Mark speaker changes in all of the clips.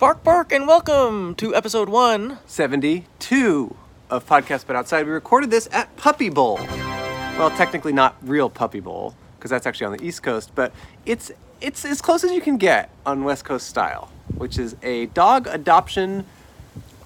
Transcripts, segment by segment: Speaker 1: Bark, bark, and welcome to episode one.
Speaker 2: 72 of Podcast But Outside. We recorded this at Puppy Bowl. Well, technically not real Puppy Bowl because that's actually on the East Coast, but it's it's as close as you can get on West Coast style, which is a dog adoption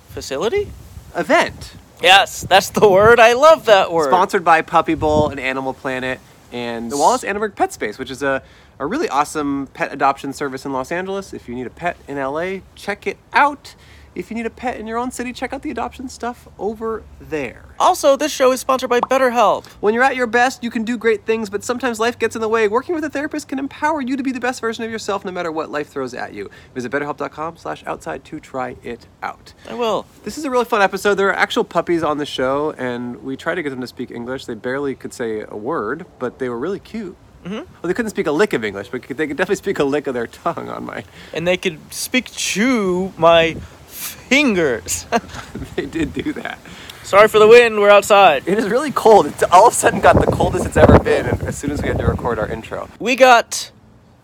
Speaker 1: Facility?
Speaker 2: event
Speaker 1: Yes, that's the word. I love that word.
Speaker 2: sponsored by Puppy Bowl and Animal Planet and the Wallace Annenberg Pet Space, which is a, a really awesome pet adoption service in Los Angeles. If you need a pet in LA, check it out. If you need a pet in your own city, check out the adoption stuff over there.
Speaker 1: Also, this show is sponsored by BetterHelp.
Speaker 2: When you're at your best, you can do great things, but sometimes life gets in the way. Working with a therapist can empower you to be the best version of yourself no matter what life throws at you. Visit betterhelp.com slash outside to try it out.
Speaker 1: I will.
Speaker 2: This is a really fun episode. There are actual puppies on the show, and we tried to get them to speak English. They barely could say a word, but they were really cute. Mm-hmm. Well, they couldn't speak a lick of English, but they could definitely speak a lick of their tongue on my.
Speaker 1: And they could speak to my fingers.
Speaker 2: they did do that.
Speaker 1: Sorry for the wind, we're outside.
Speaker 2: It is really cold. It's all of a sudden got the coldest it's ever been as soon as we had to record our intro.
Speaker 1: We got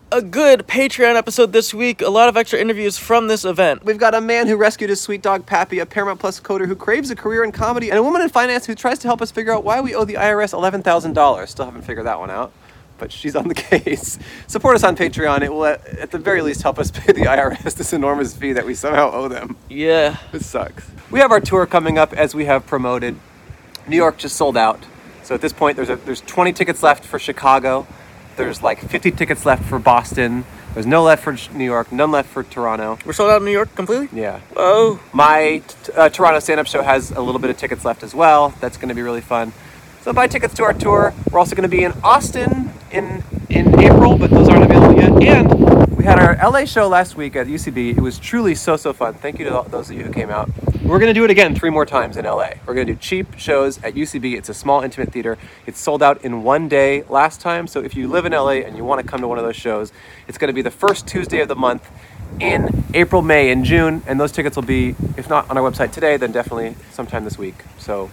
Speaker 1: a good Patreon episode this week, a lot of extra interviews from this event.
Speaker 2: We've got a man who rescued his sweet dog Pappy, a Paramount Plus coder who craves a career in comedy, and a woman in finance who tries to help us figure out why we owe the IRS eleven thousand dollars. Still haven't figured that one out, but she's on the case. Support us on Patreon. It will, at at the very least, help us pay the IRS this enormous fee that we somehow owe them.
Speaker 1: Yeah.
Speaker 2: It sucks. We have our tour coming up as we have promoted. New York just sold out. So at this point, there's a, there's 20 tickets left for Chicago. There's like 50 tickets left for Boston. There's no left for New York, none left for Toronto.
Speaker 1: We're sold out in New York completely?
Speaker 2: Yeah.
Speaker 1: Oh.
Speaker 2: My t- uh, Toronto stand up show has a little bit of tickets left as well. That's going to be really fun. So buy tickets to our tour. We're also going to be in Austin in in April, but those aren't available yet. And we had our LA show last week at UCB. It was truly so so fun. Thank you to all- those of you who came out. We're going to do it again three more times in LA. We're going to do cheap shows at UCB. It's a small intimate theater. It's sold out in one day last time. So if you live in LA and you want to come to one of those shows, it's going to be the first Tuesday of the month in April, May, and June, and those tickets will be, if not on our website today, then definitely sometime this week. So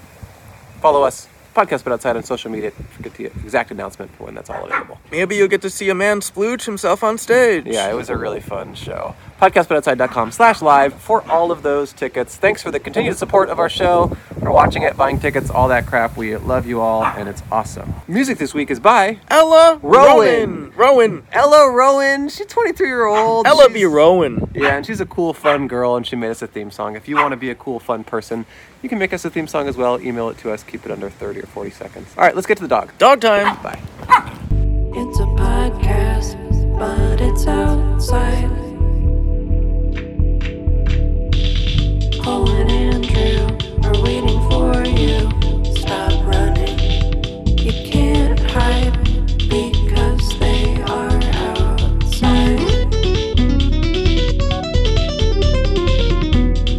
Speaker 2: follow us, podcast, but outside on social media. Forget the exact announcement for when that's all available.
Speaker 1: Maybe you'll get to see a man splooge himself on stage.
Speaker 2: Yeah, it was a really fun show. Podcastbutoutside.com slash live for all of those tickets. Thanks for the continued support of our show, for watching it, buying tickets, all that crap. We love you all, and it's awesome. Music this week is by
Speaker 1: Ella
Speaker 2: Rowan.
Speaker 1: Rowan. Rowan.
Speaker 2: Ella Rowan. She's 23 year old.
Speaker 1: Ella B. Rowan.
Speaker 2: Yeah, and she's a cool, fun girl, and she made us a theme song. If you want to be a cool, fun person, you can make us a theme song as well. Email it to us. Keep it under 30 or 40 seconds. All right, let's get to the dog.
Speaker 1: Dog time.
Speaker 2: Bye.
Speaker 3: It's a podcast, but it's outside. Paul and Andrew are waiting for you. Stop running. You can't hide because they are outside.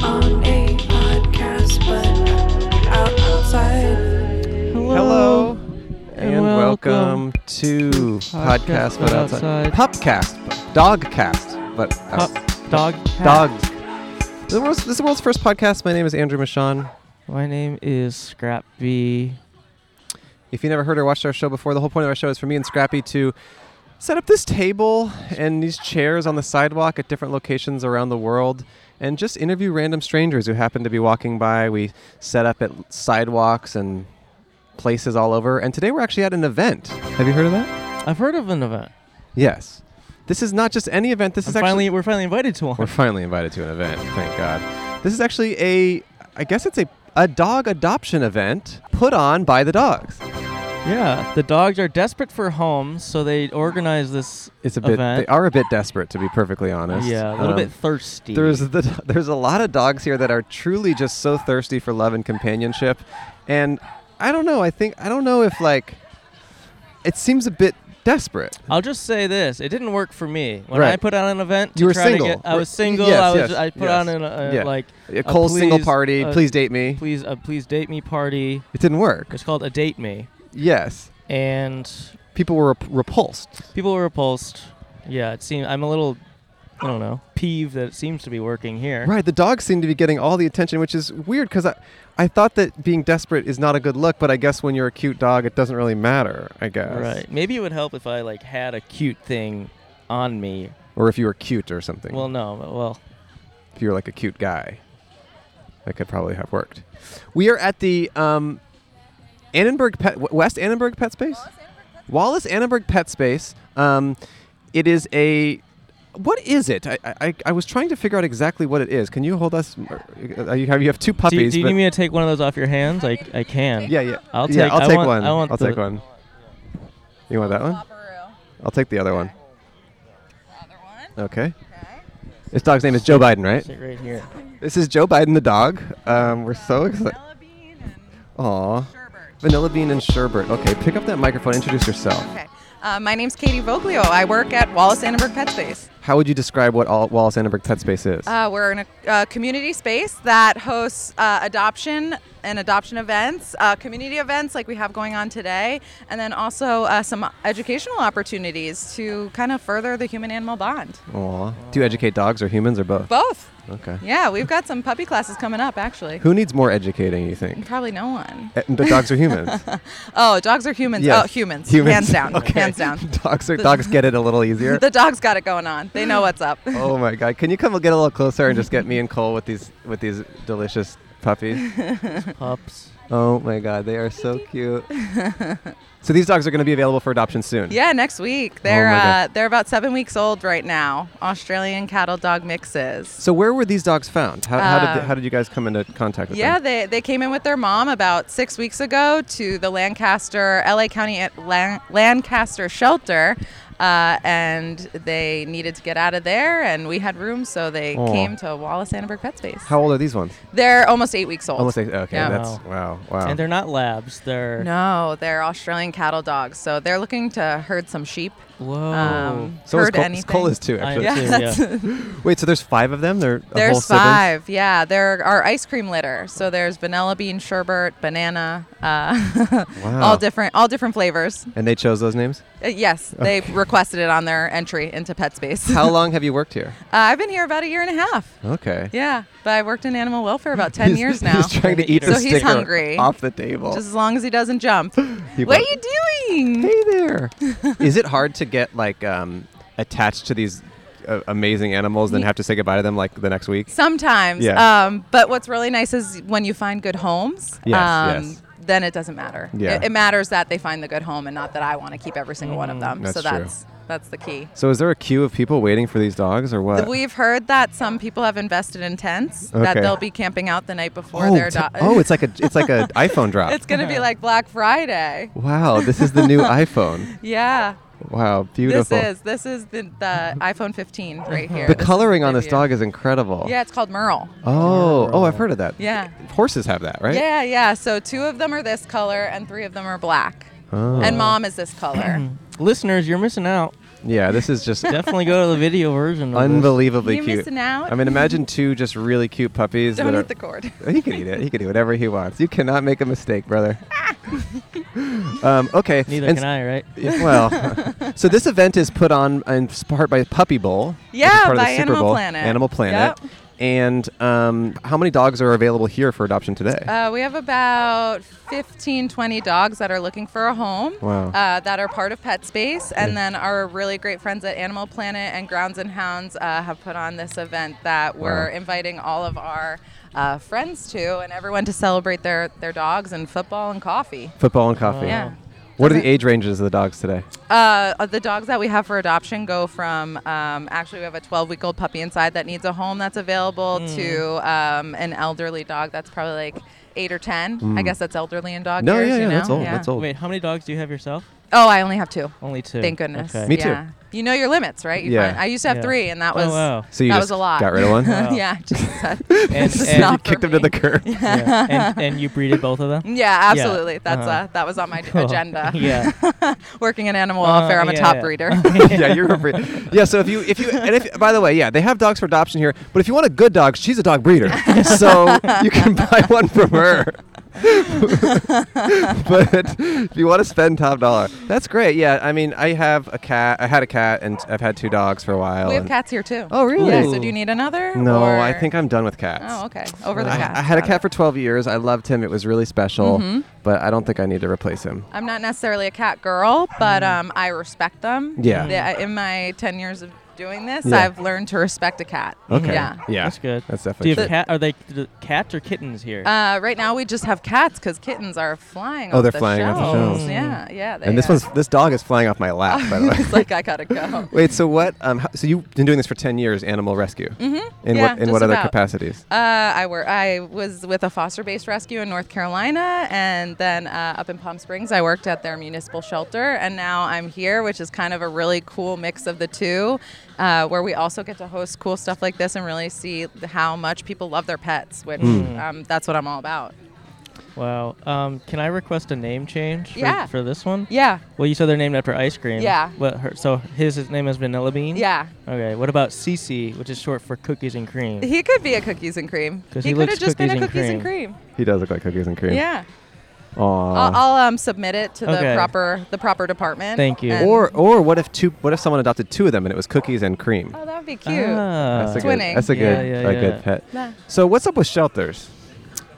Speaker 3: On a podcast, but out- outside.
Speaker 2: Hello, and welcome, to Podcast But Outside. Popcast. Dogcast. But
Speaker 4: Dog.
Speaker 2: Dog. The world's, this is the world's first podcast. My name is Andrew Michon.
Speaker 4: My name is Scrap B.
Speaker 2: If you never heard or watched our show before, the whole point of our show is for me and Scrappy to set up this table and these chairs on the sidewalk at different locations around the world and just interview random strangers who happen to be walking by. We set up at sidewalks and places all over. And today we're actually at an event. Have you heard of that?
Speaker 4: I've heard of an event.
Speaker 2: Yes. This is not just any event. This
Speaker 4: I'm
Speaker 2: is actually
Speaker 4: finally, we're finally invited to
Speaker 2: we're
Speaker 4: one.
Speaker 2: finally invited to an event. Thank God. This is actually a, I guess it's a, a dog adoption event put on by the dogs.
Speaker 4: Yeah, the dogs are desperate for homes, so they organize this
Speaker 2: It's a bit.
Speaker 4: event.
Speaker 2: They are a bit desperate, to be perfectly honest.
Speaker 4: yeah, a little
Speaker 2: Um,
Speaker 4: bit thirsty.
Speaker 2: There's the, there's a lot of dogs here that are truly just so thirsty for love and companionship, and I don't know. I think I don't know if like, it seems a bit desperate.
Speaker 4: I'll just say this: it didn't work for me when
Speaker 2: Right.
Speaker 4: I put on an event. to
Speaker 2: You were
Speaker 4: try to
Speaker 2: single.
Speaker 4: get- I
Speaker 2: We're-
Speaker 4: was single.
Speaker 2: yes,
Speaker 4: I was.
Speaker 2: yes,
Speaker 4: I put
Speaker 2: yes.
Speaker 4: on an, uh,
Speaker 2: Yeah.
Speaker 4: like
Speaker 2: A Cole's single
Speaker 4: please,
Speaker 2: party.
Speaker 4: uh,
Speaker 2: please date me.
Speaker 4: please, uh, please date me party.
Speaker 2: It didn't work.
Speaker 4: It's called a date me,
Speaker 2: Yes,
Speaker 4: and
Speaker 2: people were rep- repulsed.
Speaker 4: people were repulsed. Yeah, it seems I'm a little, I don't know, peeved that it seems to be working here.
Speaker 2: Right, the dogs seem to be getting all the attention, which is weird because I, I thought that being desperate is not a good look, but I guess when you're a cute dog, it doesn't really matter. I guess.
Speaker 4: Right. Maybe it would help if I like had a cute thing on me.
Speaker 2: Or if you were cute or something.
Speaker 4: Well, no. Well,
Speaker 2: if you're like a cute guy. That could probably have worked. We are at the um, Annenberg Pet W- West Annenberg Pet Space. Wallace Annenberg Pet Space. Um, it is a what is it? I, I, I- I was trying to figure out exactly what it is. Can you hold us? Uh, you have you have two
Speaker 4: Do you,
Speaker 2: puppies.
Speaker 4: do you
Speaker 2: but-
Speaker 4: need me to take one of those off your hands? I, I can.
Speaker 2: yeah, yeah.
Speaker 4: I'll
Speaker 2: yeah,
Speaker 4: take-
Speaker 2: I'll
Speaker 4: I
Speaker 2: take
Speaker 4: want-
Speaker 2: one.
Speaker 4: I want
Speaker 2: will
Speaker 4: the-
Speaker 2: take one. You want that one?
Speaker 5: Flopperoo.
Speaker 2: I'll take the other one.
Speaker 5: The other one.
Speaker 2: Okay.
Speaker 5: Okay.
Speaker 2: This dog's name is Joe Biden, right?
Speaker 4: Sit right here.
Speaker 2: This is Joe Biden the dog. Um, we're so excited.
Speaker 5: Vanilla bean and
Speaker 2: Aw.
Speaker 5: sherbet.
Speaker 2: Vanilla Bean and Sherbert. Okay, pick up that microphone. Introduce yourself.
Speaker 5: Okay. Uh, my name's Katie Voglio. I work at Wallace Annenberg Pet Space.
Speaker 2: How would you describe what all Wallace Annenberg Pet Space is?
Speaker 5: Uh, we're in a uh, community space that hosts uh, adoption and adoption events, uh, community events like we have going on today, and then also uh, some educational opportunities to kind of further the human animal bond.
Speaker 2: Aw. Do you educate dogs or humans or both?
Speaker 5: Both.
Speaker 2: Okay.
Speaker 5: Yeah, we've got some puppy classes coming up actually.
Speaker 2: Who needs more educating, you think?
Speaker 5: Probably no one.
Speaker 2: Eh, The dogs or humans?
Speaker 5: Oh, dogs are humans.
Speaker 2: Yes.
Speaker 5: Oh, humans.
Speaker 2: Humans.
Speaker 5: Hands down.
Speaker 2: Okay.
Speaker 5: Hands down.
Speaker 2: dogs are
Speaker 5: The-
Speaker 2: dogs get it a little easier.
Speaker 5: The dog's got it going on. They know what's up.
Speaker 2: oh my god. Can you come get a little closer and just get me and Cole with these with these delicious puppies?
Speaker 4: Pups.
Speaker 2: Oh my god, they are so cute. so these dogs are going to be available for adoption soon.
Speaker 5: Yeah, next week. They're
Speaker 2: Oh my
Speaker 5: uh,
Speaker 2: God.
Speaker 5: they're about seven weeks old right now. Australian cattle dog mixes.
Speaker 2: So where were these dogs found? How, how, did,
Speaker 5: Um,
Speaker 2: they, how did you guys come into contact with
Speaker 5: Yeah,
Speaker 2: them?
Speaker 5: they, they came in with their mom about six weeks ago to the Lancaster, LA County at Lan- Lancaster shelter. Uh, and they needed to get out of there, and we had room, so they
Speaker 2: Aw.
Speaker 5: came to Wallace Annenberg Pet Space.
Speaker 2: How old are these ones?
Speaker 5: they're almost eight weeks old.
Speaker 2: Almost eight. Okay,
Speaker 5: Yeah.
Speaker 2: that's wow, wow.
Speaker 4: And they're not labs. They're.
Speaker 5: No, they're Australian cattle dogs, so they're looking to herd some sheep.
Speaker 4: Whoa.
Speaker 5: Um,
Speaker 2: Oh. so is
Speaker 5: herd
Speaker 2: Cole,
Speaker 5: anything.
Speaker 2: Cole is two
Speaker 4: I
Speaker 2: actually.
Speaker 4: am
Speaker 5: Yeah,
Speaker 4: too,
Speaker 5: that's-
Speaker 2: Wait, so there's five of them? They're a whole
Speaker 5: There's
Speaker 2: siblings?
Speaker 5: five, yeah. There are ice cream litter, so there's vanilla bean sherbet, banana, uh,
Speaker 2: Wow.
Speaker 5: all different, all different flavors.
Speaker 2: And they chose those names.
Speaker 5: Uh, yes, they requested it on their entry into Pet Space. uh,
Speaker 2: How long have you worked here?
Speaker 5: I've been here about a year and a half.
Speaker 2: Okay.
Speaker 5: Yeah, but I worked in animal welfare about ten
Speaker 2: He's-
Speaker 5: years now.
Speaker 2: He's trying to eat
Speaker 5: So
Speaker 2: her
Speaker 5: he's
Speaker 2: sticker
Speaker 5: hungry.
Speaker 2: off the table.
Speaker 5: Just as long as he doesn't jump.
Speaker 2: He
Speaker 5: what are
Speaker 2: won't-
Speaker 5: you doing?
Speaker 2: Hey there. Is it hard to get like um, attached to these uh, amazing animals, then have to say goodbye to them like the next week?
Speaker 5: Sometimes.
Speaker 2: Yeah.
Speaker 5: Um, but what's really nice is when you find good homes.
Speaker 2: Yes,
Speaker 5: um,
Speaker 2: yes.
Speaker 5: Then it doesn't matter.
Speaker 2: Yeah.
Speaker 5: It, it matters that they find the good home, and not that I want to keep every single one of them.
Speaker 2: Mm, That's
Speaker 5: so
Speaker 2: true.
Speaker 5: that's that's the key.
Speaker 2: So is there a queue of people waiting for these dogs or what?
Speaker 5: We've heard that some people have invested in tents that
Speaker 2: Uh, Okay.
Speaker 5: they'll be camping out the night before
Speaker 2: oh,
Speaker 5: their
Speaker 2: t-
Speaker 5: dog.
Speaker 2: oh, it's like a it's like an iPhone drop.
Speaker 5: it's gonna be like Black Friday.
Speaker 2: wow, this is the new iPhone.
Speaker 5: Yeah.
Speaker 2: Wow, beautiful. Mm-hmm.
Speaker 5: This is this is the, the iPhone 15 right here.
Speaker 2: the
Speaker 5: This is
Speaker 2: coloring on this
Speaker 5: debut.
Speaker 2: dog is incredible.
Speaker 5: Yeah, it's called Merle.
Speaker 2: Oh, oh, I've heard of that.
Speaker 5: Yeah.
Speaker 2: Horses have that, right?
Speaker 5: Yeah, yeah. So two of them are this color, and three of them are black.
Speaker 2: Oh.
Speaker 5: And mom is this color.
Speaker 4: Listeners, you're missing out.
Speaker 2: Yeah, this is just
Speaker 4: Definitely go to the video version. Of
Speaker 2: unbelievably
Speaker 5: You're
Speaker 2: cute.
Speaker 5: missing out.
Speaker 2: I mean, imagine two just really cute puppies
Speaker 5: Don't
Speaker 2: that are
Speaker 5: eat the cord.
Speaker 2: He can eat it. He can do whatever he wants. You cannot make a mistake, brother. um, okay.
Speaker 4: This. Neither
Speaker 2: and
Speaker 4: can I, right?
Speaker 2: s- Well, so this event is put on in s- part by Puppy Bowl. which is
Speaker 5: Yeah,
Speaker 2: part of the
Speaker 5: by
Speaker 2: Super
Speaker 5: Animal
Speaker 2: Bowl,
Speaker 5: Planet.
Speaker 2: Animal Planet.
Speaker 5: Yep.
Speaker 2: And um, how many dogs are available here for adoption today?
Speaker 5: Uh, we have about 15, 20 dogs that are looking for a home
Speaker 2: Wow.
Speaker 5: uh, that are part of Pet Space. And then our really great friends at Animal Planet and Grounds and Hounds uh, have put on this event that we're
Speaker 2: Wow.
Speaker 5: inviting all of our uh, friends to and everyone to celebrate their, their dogs and football and coffee.
Speaker 2: Football and coffee.
Speaker 5: Yeah.
Speaker 2: What are the age ranges of the dogs today?
Speaker 5: Uh, the dogs that we have for adoption go from um, actually we have a 12 week old puppy inside that needs a home that's available
Speaker 2: Hmm.
Speaker 5: to um, an elderly dog that's probably like eight or 10. I guess that's elderly in dog
Speaker 2: Hmm. No,
Speaker 5: years.
Speaker 2: yeah,
Speaker 5: you
Speaker 2: yeah,
Speaker 5: know?
Speaker 2: that's old. That's old.
Speaker 4: Wait, how many dogs do you have yourself?
Speaker 5: Oh, I only have two.
Speaker 4: Only two.
Speaker 5: Thank goodness.
Speaker 4: Okay.
Speaker 2: Me too.
Speaker 5: Yeah. You know your limits, right? You
Speaker 2: Yeah.
Speaker 5: find- I used to have
Speaker 4: Yeah.
Speaker 5: three, and that
Speaker 4: Oh,
Speaker 5: was
Speaker 4: wow.
Speaker 2: So you
Speaker 5: that
Speaker 2: just
Speaker 5: was a lot.
Speaker 2: got rid of one?
Speaker 4: Wow.
Speaker 5: yeah, I just said,
Speaker 4: And-
Speaker 5: this is
Speaker 4: and-
Speaker 5: not
Speaker 2: you
Speaker 5: for
Speaker 2: kicked him to
Speaker 5: me.
Speaker 2: the curb.
Speaker 4: yeah. and, and you breeded both of them?
Speaker 5: Yeah, absolutely. That's
Speaker 4: Uh-huh.
Speaker 5: uh, that was on my d-
Speaker 4: Cool.
Speaker 5: agenda.
Speaker 4: yeah.
Speaker 5: Working in animal
Speaker 4: Uh,
Speaker 5: welfare, I'm a
Speaker 4: yeah,
Speaker 5: top
Speaker 4: yeah.
Speaker 5: breeder.
Speaker 2: yeah, you're a breed- Yeah, so if you if you and if by the way, yeah, they have dogs for adoption here, but if you want a good dog, she's a dog breeder. so you can buy one from her. but if you want to spend top dollar, that's great. Yeah, I mean, I have a cat. I had a cat, and I've had two dogs for a while.
Speaker 5: we have
Speaker 2: and-
Speaker 5: cats here too.
Speaker 2: Oh, really?
Speaker 5: Yeah. So do
Speaker 4: Ooh.
Speaker 5: you need another?
Speaker 2: No,
Speaker 5: or-
Speaker 2: I think I'm done with cats.
Speaker 5: Oh, okay. Over the
Speaker 2: I,
Speaker 5: cat.
Speaker 2: I had a
Speaker 5: Got
Speaker 2: cat
Speaker 5: it. Mm-hmm.
Speaker 2: for 12 years. I loved him. It was really special, but I don't think I need to replace him.
Speaker 5: I'm not necessarily a cat girl, but um, I respect them.
Speaker 2: Yeah.
Speaker 5: They- I- in my 10 years of doing this,
Speaker 2: Yeah.
Speaker 5: I've learned to respect a cat.
Speaker 2: Okay.
Speaker 5: Yeah.
Speaker 4: That's good.
Speaker 2: That's
Speaker 4: Do
Speaker 2: definitely.
Speaker 4: you have
Speaker 2: true.
Speaker 4: cat? Are they do- cats or kittens here?
Speaker 5: Uh, right now, we just have cats because kittens are flying.
Speaker 2: Oh,
Speaker 5: off
Speaker 2: they're
Speaker 5: the
Speaker 2: flying off
Speaker 5: shelves.
Speaker 2: the
Speaker 4: shelves.
Speaker 5: Yeah, yeah. They
Speaker 2: And this
Speaker 5: are.
Speaker 2: one's this dog is flying off my lap. By the way.
Speaker 5: it's like I gotta go.
Speaker 2: Wait. So what? Um. How, so you've been doing this for ten years, animal rescue. Mm-hmm. In
Speaker 5: Yeah,
Speaker 2: what in
Speaker 5: just
Speaker 2: what other
Speaker 5: about.
Speaker 2: capacities?
Speaker 5: Uh, I were I was with a foster-based rescue in North Carolina, and then uh, up in Palm Springs, I worked at their municipal shelter, and now I'm here, which is kind of a really cool mix of the two, uh, where we also get to host cool stuff like this and really see how much people love their pets, which
Speaker 4: Hmm.
Speaker 5: um, that's what I'm all about.
Speaker 4: wow. Um, can I request a name change? For,
Speaker 5: Yeah.
Speaker 4: For this one.
Speaker 5: Yeah,
Speaker 4: Well, you said they're named after ice cream.
Speaker 5: Yeah.
Speaker 4: What? Her, so his, his name is Vanilla Bean.
Speaker 5: yeah.
Speaker 4: Okay. What about CC, which is short for cookies and cream?
Speaker 5: He could be a cookies and cream.
Speaker 4: 'Cause
Speaker 5: He
Speaker 4: he
Speaker 5: could
Speaker 4: likes
Speaker 5: have just been a
Speaker 4: cookies
Speaker 5: cookies
Speaker 4: and
Speaker 5: and cream.
Speaker 2: He does look like cookies and cream.
Speaker 5: Yeah,
Speaker 2: Aw.
Speaker 5: I'll, I'll um, submit it to the
Speaker 4: Okay.
Speaker 5: proper the proper department.
Speaker 4: Thank you.
Speaker 5: and-
Speaker 2: or or what if two? What if someone adopted two of them and it was cookies and cream?
Speaker 5: oh, that would be cute.
Speaker 4: Ah.
Speaker 2: that's a good.
Speaker 5: Twinning.
Speaker 2: That's a
Speaker 4: Yeah,
Speaker 2: good.
Speaker 4: yeah,
Speaker 2: a
Speaker 4: yeah.
Speaker 2: good pet.
Speaker 5: Nah.
Speaker 2: So what's up with shelters?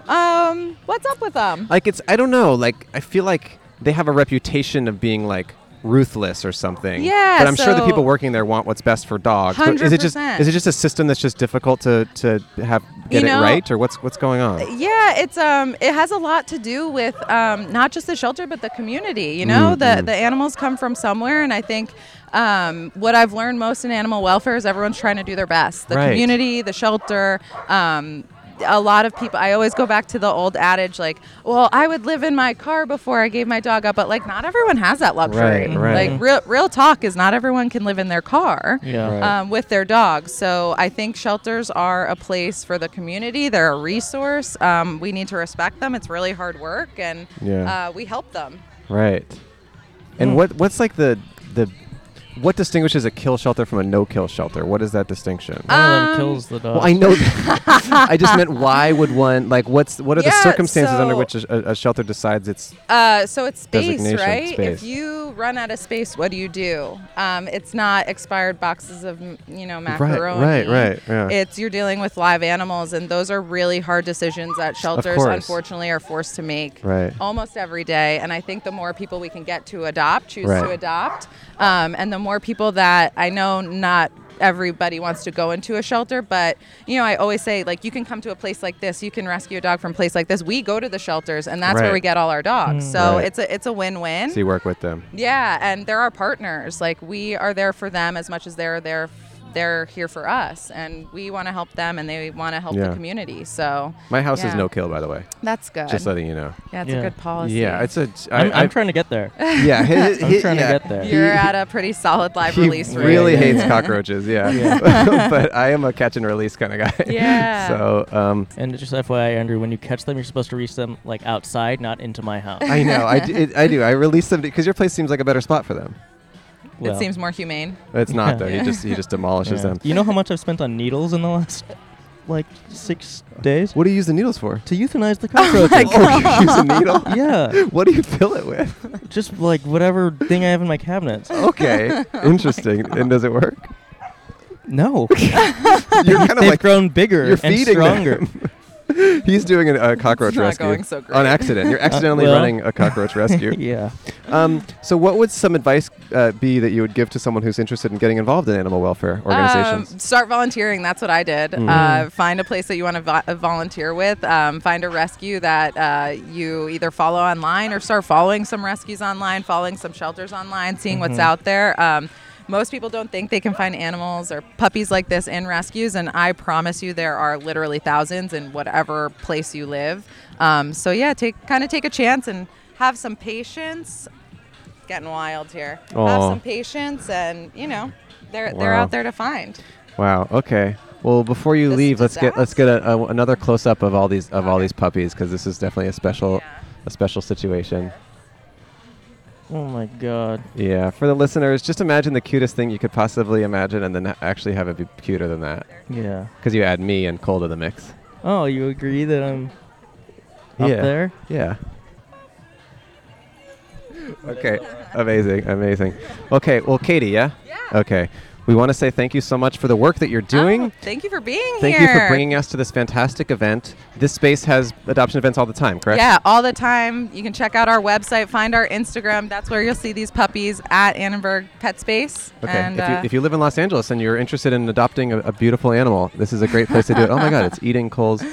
Speaker 5: Um, what's up with them?
Speaker 2: Like it's I don't know. Like I feel like they have a reputation of being like ruthless or something.
Speaker 5: Yeah,
Speaker 2: But I'm sure the
Speaker 5: so-
Speaker 2: people working there want what's best for dogs. But is it just
Speaker 5: 100%.
Speaker 2: is it just a system that's just difficult to to have get
Speaker 5: know-
Speaker 2: it right or what's what's going on?
Speaker 5: Yeah, it's um, it has a lot to do with um, not just the shelter but the community. You know,
Speaker 2: Mm-hmm.
Speaker 5: the the animals come from somewhere, and I think um, what I've learned most in animal welfare is everyone's trying to do their best. The
Speaker 2: Right.
Speaker 5: community, the shelter. Um, a lot of people i always go back to the old adage like well i would live in my car before i gave my dog up but like not everyone has that luxury
Speaker 2: Right, right.
Speaker 5: like real, real talk is not everyone can live in their car
Speaker 4: Yeah.
Speaker 2: Right.
Speaker 5: um, with their dogs. So I think shelters are a place for the community. They're a resource. Um, we need to respect them. It's really hard work, and
Speaker 2: Yeah.
Speaker 5: uh, we help them.
Speaker 2: Right. And
Speaker 5: Hmm.
Speaker 2: what what's like the the what distinguishes a kill shelter from a no kill shelter? What is that distinction?
Speaker 4: One of
Speaker 5: Um,
Speaker 4: them kills the dog.
Speaker 2: Well, I know. I just meant why would one like what's what are the
Speaker 5: Yeah,
Speaker 2: circumstances under
Speaker 5: so-
Speaker 2: which a, a- a shelter decides it's
Speaker 5: Uh, so it's space,
Speaker 2: Designation,
Speaker 5: right?
Speaker 2: space.
Speaker 5: If you run out of space, what do you do? Um, it's not expired boxes of m- you know macaroni.
Speaker 2: right, right, yeah.
Speaker 5: It's you're dealing with live animals, and those are really hard decisions that shelters
Speaker 2: course.
Speaker 5: unfortunately are forced to make.
Speaker 2: Right.
Speaker 5: Almost every day, and I think the more people we can get to adopt, choose
Speaker 2: Right.
Speaker 5: to adopt, um, and the more people that I know not. Everybody wants to go into a shelter, but you know, I always say, like, you can come to a place like this, you can rescue a dog from a place like this. We go to the shelters, and that's where
Speaker 2: Right.
Speaker 5: we get all our dogs. So
Speaker 2: Mm, Right.
Speaker 5: it's a it's a win-win.
Speaker 2: so you work with them?
Speaker 5: yeah, and they're our partners. Like we are there for them as much as they're there they're here for us and we want to help them and they want to help
Speaker 2: Yeah.
Speaker 5: the community. So
Speaker 2: My house is
Speaker 5: Yeah.
Speaker 2: no kill by the way.
Speaker 5: that's good.
Speaker 2: Just letting you know.
Speaker 5: yeah, it's
Speaker 4: Yeah.
Speaker 5: a good policy.
Speaker 2: Yeah, it's a. I,
Speaker 4: I'm,
Speaker 2: I-
Speaker 4: I'm trying to get there.
Speaker 2: Yeah,
Speaker 4: I'm trying to get there.
Speaker 5: You're at a pretty solid live
Speaker 2: He
Speaker 5: release rate.
Speaker 2: really
Speaker 4: Yeah.
Speaker 2: hates cockroaches. Yeah, but I am a catch and release kind of guy.
Speaker 5: Yeah.
Speaker 2: so um,
Speaker 4: And just FYI, Andrew, when you catch them, you're supposed to reach them like outside, not into my house.
Speaker 2: I know. I d- it- I do. I release them because your place seems like a better spot for them.
Speaker 5: It
Speaker 4: Well,
Speaker 5: seems more humane.
Speaker 2: But it's not
Speaker 4: Yeah.
Speaker 2: though. He just he just demolishes
Speaker 4: yeah.
Speaker 2: them.
Speaker 4: You know how much I've spent on needles in the last like six days
Speaker 2: What do you use the needles for?
Speaker 4: to euthanize the cockroaches.
Speaker 2: Oh, you use a needle.
Speaker 4: yeah,
Speaker 2: What do you fill it with?
Speaker 4: just like whatever thing I have in my cabinet.
Speaker 2: Okay, interesting. and does it work?
Speaker 4: No,
Speaker 2: You're kind of
Speaker 4: they've
Speaker 2: like
Speaker 4: grown bigger
Speaker 2: you're
Speaker 4: and
Speaker 2: feeding
Speaker 4: stronger.
Speaker 2: them. He's doing a, a cockroach
Speaker 5: not
Speaker 2: rescue
Speaker 5: going so
Speaker 2: on
Speaker 5: great. Uh,
Speaker 2: accident. You're accidentally
Speaker 4: well.
Speaker 2: running a cockroach rescue.
Speaker 4: yeah.
Speaker 2: Um, so, what would some advice uh, be that you would give to someone who's interested in getting involved in animal welfare organizations? Mm-hmm.
Speaker 5: Um, start volunteering. That's what I did. Uh, find a place that you want to vo- uh, volunteer with. Um, find a rescue that uh, you either follow online or start following some rescues online, following some shelters online, seeing
Speaker 2: Mm-hmm.
Speaker 5: what's out there. Um, most people don't think they can find animals or puppies like this in rescues, and I promise you, there are literally thousands in whatever place you live. Um, so yeah, take kind of take a chance and have some patience. Getting wild here. Have
Speaker 2: Aw.
Speaker 5: some patience, and you know, they're they're
Speaker 2: Wow.
Speaker 5: out there to find.
Speaker 2: wow. Okay. Well, before you
Speaker 5: This is
Speaker 2: leave, let's get let's get a, a, another close up of all these of all
Speaker 5: Okay.
Speaker 2: these puppies because this is definitely a special
Speaker 5: Yeah.
Speaker 2: a special situation.
Speaker 4: Oh my god.
Speaker 2: Yeah. For the listeners, just imagine the cutest thing you could possibly imagine, and then actually have it be cuter than that
Speaker 4: Yeah.
Speaker 2: because you add me and Cole to the mix.
Speaker 4: Oh, you agree that I'm up
Speaker 2: yeah.
Speaker 4: there?
Speaker 2: Yeah. Okay. amazing. Amazing. Okay. Well, Katie. Yeah.
Speaker 5: Yeah.
Speaker 2: Okay. We want to say thank you so much for the work that you're doing.
Speaker 5: Oh, thank you for being
Speaker 2: Thank
Speaker 5: here.
Speaker 2: you for bringing us to this fantastic event. This space has adoption events all the time, correct?
Speaker 5: Yeah, all the time. You can check out our website, find our Instagram. That's where you'll see these puppies at Annenberg Pet Space.
Speaker 2: Okay.
Speaker 5: And,
Speaker 2: if, you,
Speaker 5: uh,
Speaker 2: if you live in Los Angeles and you're interested in adopting a, a beautiful animal, this is a great place to do it. Oh my God, it's eating Cole's.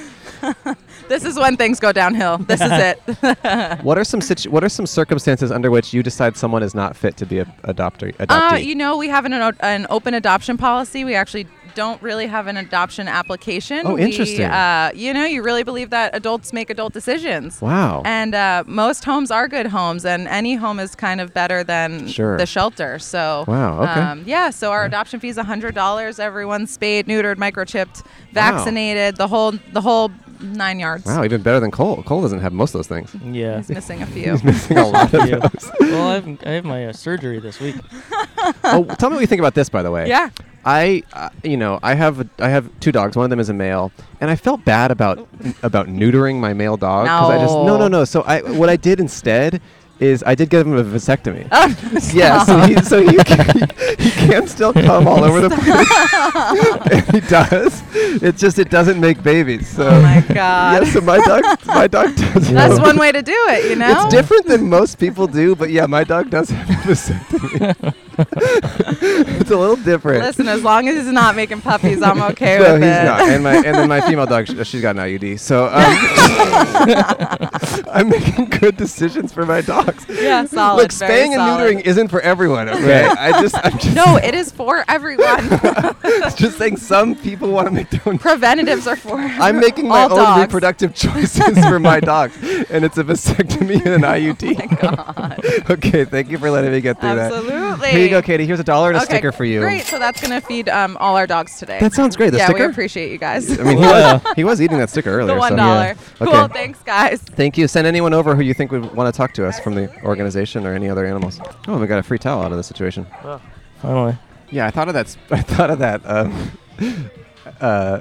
Speaker 5: this is when things go downhill. This is it.
Speaker 2: What are some situ- What are some circumstances under which you decide someone is not fit to be a adopter? Adoptee?
Speaker 5: Uh, you know, we have an, o- an open adoption policy. We actually don't really have an adoption application.
Speaker 2: Oh,
Speaker 5: We,
Speaker 2: interesting.
Speaker 5: uh, you know, you really believe that adults make adult decisions.
Speaker 2: wow.
Speaker 5: And uh, most homes are good homes, and any home is kind of better than
Speaker 2: Sure.
Speaker 5: the shelter. So, um,
Speaker 2: Wow, okay.
Speaker 5: yeah, so our adoption fee is hundred dollars. Everyone's spayed, neutered, microchipped, vaccinated, the whole the whole nine yards.
Speaker 2: wow, even better than Cole. Cole doesn't have most of those things.
Speaker 4: Yeah.
Speaker 5: He's missing a few.
Speaker 2: Missing a lot of
Speaker 4: Yeah.
Speaker 2: those.
Speaker 4: well, I have, I have my uh, surgery this week.
Speaker 2: oh, tell me what you think about this, by the way.
Speaker 5: yeah.
Speaker 2: I, uh, you know, I have a- I have two dogs. One of them is a male, and I felt bad about about neutering my male dog I just no,
Speaker 5: No.
Speaker 2: no, no. So I what I did instead is I did give him a vasectomy.
Speaker 5: Oh.
Speaker 2: yeah, so he, so he can, he can still come all over the place. and he does. It's just it doesn't make babies. So
Speaker 5: Oh my God.
Speaker 2: yeah, so my dog my dog does.
Speaker 5: That's
Speaker 2: have-
Speaker 5: one way to do it. You know.
Speaker 2: It's different than most people do, but yeah, my dog does have a vasectomy. it's a little different.
Speaker 5: Listen, as long as he's not making puppies, I'm okay
Speaker 2: No,
Speaker 5: with
Speaker 2: he's
Speaker 5: it.
Speaker 2: not. And my and then my female dog, sh- she's got an IUD. So um, I'm making good decisions for my dogs.
Speaker 5: Yeah, solid.
Speaker 2: Look,
Speaker 5: very
Speaker 2: spaying and
Speaker 5: solid.
Speaker 2: neutering isn't for everyone. Okay, I just I'm just,
Speaker 5: No, it is for everyone.
Speaker 2: just saying some people want to make their own.
Speaker 5: Preventatives are for.
Speaker 2: I'm making my
Speaker 5: all
Speaker 2: own
Speaker 5: dogs.
Speaker 2: reproductive choices for my dogs, and it's a vasectomy
Speaker 5: Oh
Speaker 2: and an IUD. okay, thank you for letting me get through that.
Speaker 5: Absolutely.
Speaker 2: Here you go, Katie. Here's a dollar and a sticker for you.
Speaker 5: Great. So that's gonna feed um, all our dogs today.
Speaker 2: That sounds great. The
Speaker 5: yeah,
Speaker 2: sticker.
Speaker 5: we appreciate you guys.
Speaker 2: I mean, he was, he was eating that sticker earlier. so-
Speaker 5: the one dollar.
Speaker 2: Okay.
Speaker 5: Cool. Thanks, guys.
Speaker 2: Thank you. Send anyone over who you think would want to talk to us from the organization or any other animals. Oh, we got a free towel out of this situation.
Speaker 4: Finally.
Speaker 2: Yeah, I thought of that. s- I thought of that. Um, uh,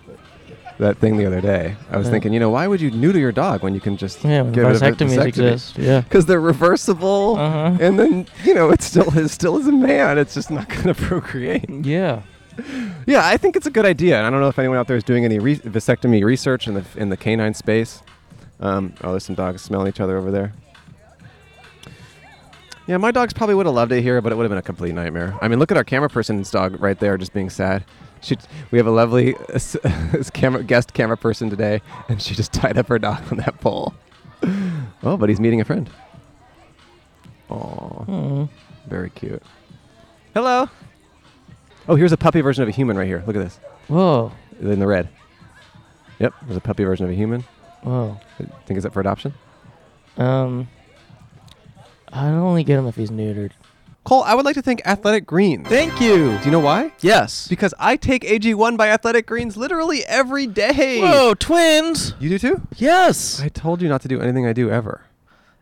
Speaker 2: that thing the other day. I was
Speaker 4: Yeah.
Speaker 2: thinking, you know, why would you neuter your dog when you can just
Speaker 4: Yeah, when
Speaker 2: give it a vas-
Speaker 4: vasectomies exist. Yeah.
Speaker 2: Because they're reversible,
Speaker 4: Uh-huh.
Speaker 2: and then you know, it's still is still is a man. It's just not going to procreate.
Speaker 4: Yeah.
Speaker 2: Yeah, I think it's a good idea. And I don't know if anyone out there is doing any re- vasectomy research in the in the canine space. Um, oh, there's some dogs smelling each other over there. Yeah, my dogs probably would have loved it here, but it would have been a complete nightmare. I mean, look at our camera person's dog right there, just being sad. She, we have a lovely uh, s- camera guest camera person today, and she just tied up her dog on that pole. Oh, but he's meeting a friend. Aw,
Speaker 4: Mm.
Speaker 2: very cute. Hello. Oh, here's a puppy version of a human right here. Look at this
Speaker 4: Whoa.
Speaker 2: in the red. Yep, there's a puppy version of a human.
Speaker 4: Whoa.
Speaker 2: I think it's up for adoption.
Speaker 4: Um, I'd only get him if he's neutered.
Speaker 2: Cole, I would like to thank Athletic Greens.
Speaker 6: Thank you.
Speaker 2: Do you know why?
Speaker 6: Yes.
Speaker 2: Because I take AG1 by Athletic Greens literally every day.
Speaker 6: Whoa, twins.
Speaker 2: You do too?
Speaker 6: Yes.
Speaker 2: I told you not to do anything I do ever.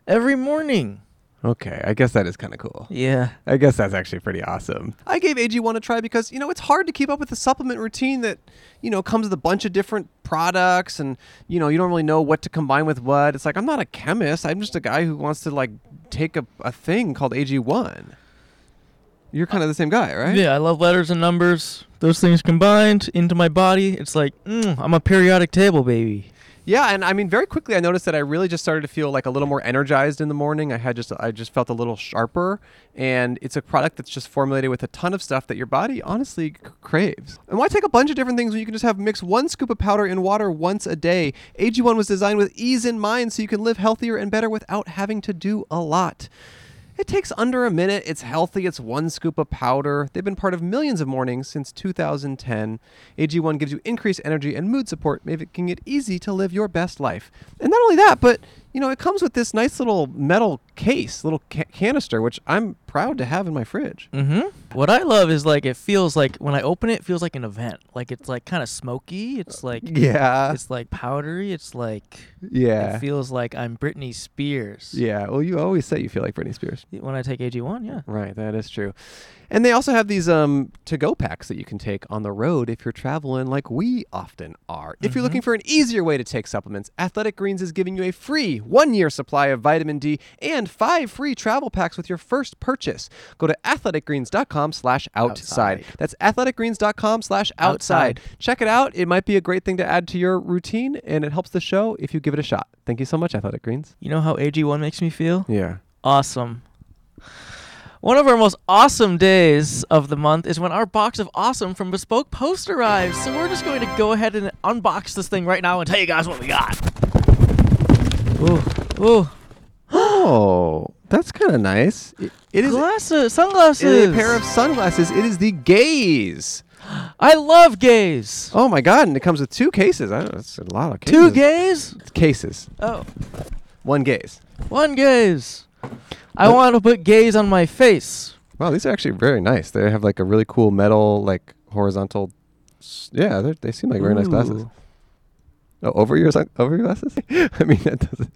Speaker 6: Every morning.
Speaker 2: Okay, I guess that is kind of cool.
Speaker 6: Yeah.
Speaker 2: I guess that's actually pretty awesome. I gave AG1 a try because, you know, it's hard to keep up with the supplement routine that, you know, comes with a bunch of different products and, you know, you don't really know what to combine with what. It's like, I'm not a chemist. I'm just a guy who wants to, like, take a, a thing called AG1. You're kind of the same guy, right?
Speaker 6: Yeah, I love letters and numbers. Those things combined into my body, it's like, mm, I'm a periodic table baby.
Speaker 2: Yeah, and I mean, very quickly, I noticed that I really just started to feel like a little more energized in the morning. I had just, I just felt a little sharper, and it's a product that's just formulated with a ton of stuff that your body honestly c- craves. And why take a bunch of different things when you can just have mix one scoop of powder in water once a day? AG1 was designed with ease in mind, so you can live healthier and better without having to do a lot. It takes under a minute. It's healthy. It's one scoop of powder. They've been part of millions of mornings since 2010. AG1 gives you increased energy and mood support, making it easy to live your best life. And not only that, but you know, it comes with this nice little metal case, little ca- canister, which I'm proud to have in my fridge.
Speaker 6: Mm-hmm. What I love is like it feels like when I open it, it feels like an event. Like it's like kind of smoky. It's like
Speaker 2: Uh, Yeah.
Speaker 6: it's like powdery. It's like
Speaker 2: Yeah.
Speaker 6: it feels like I'm Britney Spears.
Speaker 2: yeah. Well, you always say you feel like Britney Spears.
Speaker 6: When I take AG1, yeah.
Speaker 2: Right, that is true. And they also have these um, to go packs that you can take on the road if you're traveling Mm-hmm. like we often are. If you're looking for an easier way to take supplements, Athletic Greens is giving you a free one year supply of vitamin D, and five free travel packs with your first purchase. Go to athleticgreens.com slash outside. That's athleticgreens.com slash outside. Check it out. It might be a great thing to add to your routine, and it helps the show if you give it a shot. Thank you so much, Athletic Greens.
Speaker 6: You know how AG1 makes me feel?
Speaker 2: Yeah.
Speaker 6: Awesome. One of our most awesome days of the month is when our box of awesome from Bespoke Post arrives. So we're just going to go ahead and unbox this thing right now and tell you guys what we got. Ooh, ooh,
Speaker 2: Oh, that's kind of nice. It- it is
Speaker 6: glasses,
Speaker 2: it is
Speaker 6: sunglasses.
Speaker 2: a pair of sunglasses. It is the gaze.
Speaker 6: I love gays.
Speaker 2: Oh my god! And it comes with two cases. I don't, that's a lot of cases.
Speaker 6: Two gays?
Speaker 2: cases.
Speaker 6: Oh,
Speaker 2: One gaze.
Speaker 6: one gays. I want to put gays on my face.
Speaker 2: Wow, these are actually very nice. They have like a really cool metal, like horizontal. s- Yeah, they're- they seem like very nice glasses.
Speaker 6: Ooh.
Speaker 2: Oh, over your sun- over your glasses? I mean, that doesn't.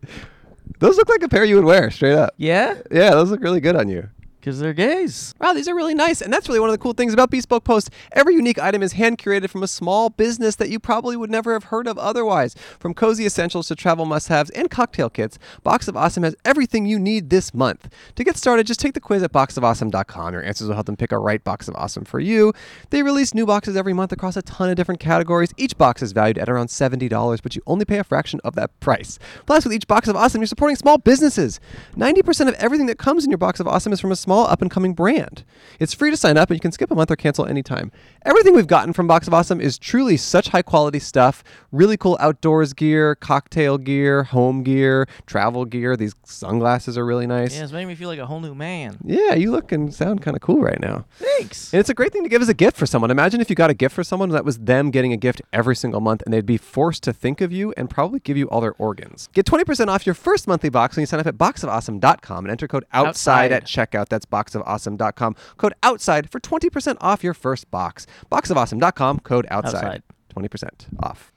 Speaker 2: Those look like a pair you would wear straight up.
Speaker 6: Yeah?
Speaker 2: Yeah, those look really good on you.
Speaker 6: Because they're gays.
Speaker 2: Wow, these are really nice. And that's really one of the cool things about Bespoke Post. Every unique item is hand curated from a small business that you probably would never have heard of otherwise. From cozy essentials to travel must haves and cocktail kits, Box of Awesome has everything you need this month. To get started, just take the quiz at boxofawesome.com. Your answers will help them pick a right box of awesome for you. They release new boxes every month across a ton of different categories. Each box is valued at around $70, but you only pay a fraction of that price. Plus, with each box of awesome, you're supporting small businesses. 90% of everything that comes in your box of awesome is from a small up and coming brand. It's free to sign up and you can skip a month or cancel anytime. Everything we've gotten from Box of Awesome is truly such high quality stuff. Really cool outdoors gear, cocktail gear, home gear, travel gear. These sunglasses are really nice.
Speaker 6: Yeah, it's making me feel like a whole new man.
Speaker 2: Yeah, you look and sound kind of cool right now.
Speaker 6: Thanks.
Speaker 2: And it's a great thing to give as a gift for someone. Imagine if you got a gift for someone that was them getting a gift every single month and they'd be forced to think of you and probably give you all their organs. Get 20% off your first monthly box when you sign up at boxofawesome.com and enter code outside,
Speaker 6: Outside.
Speaker 2: at checkout. That's boxofawesome.com. Code outside for 20% off your first box. Boxofawesome.com, code outside.
Speaker 6: Outside.
Speaker 2: 20% off.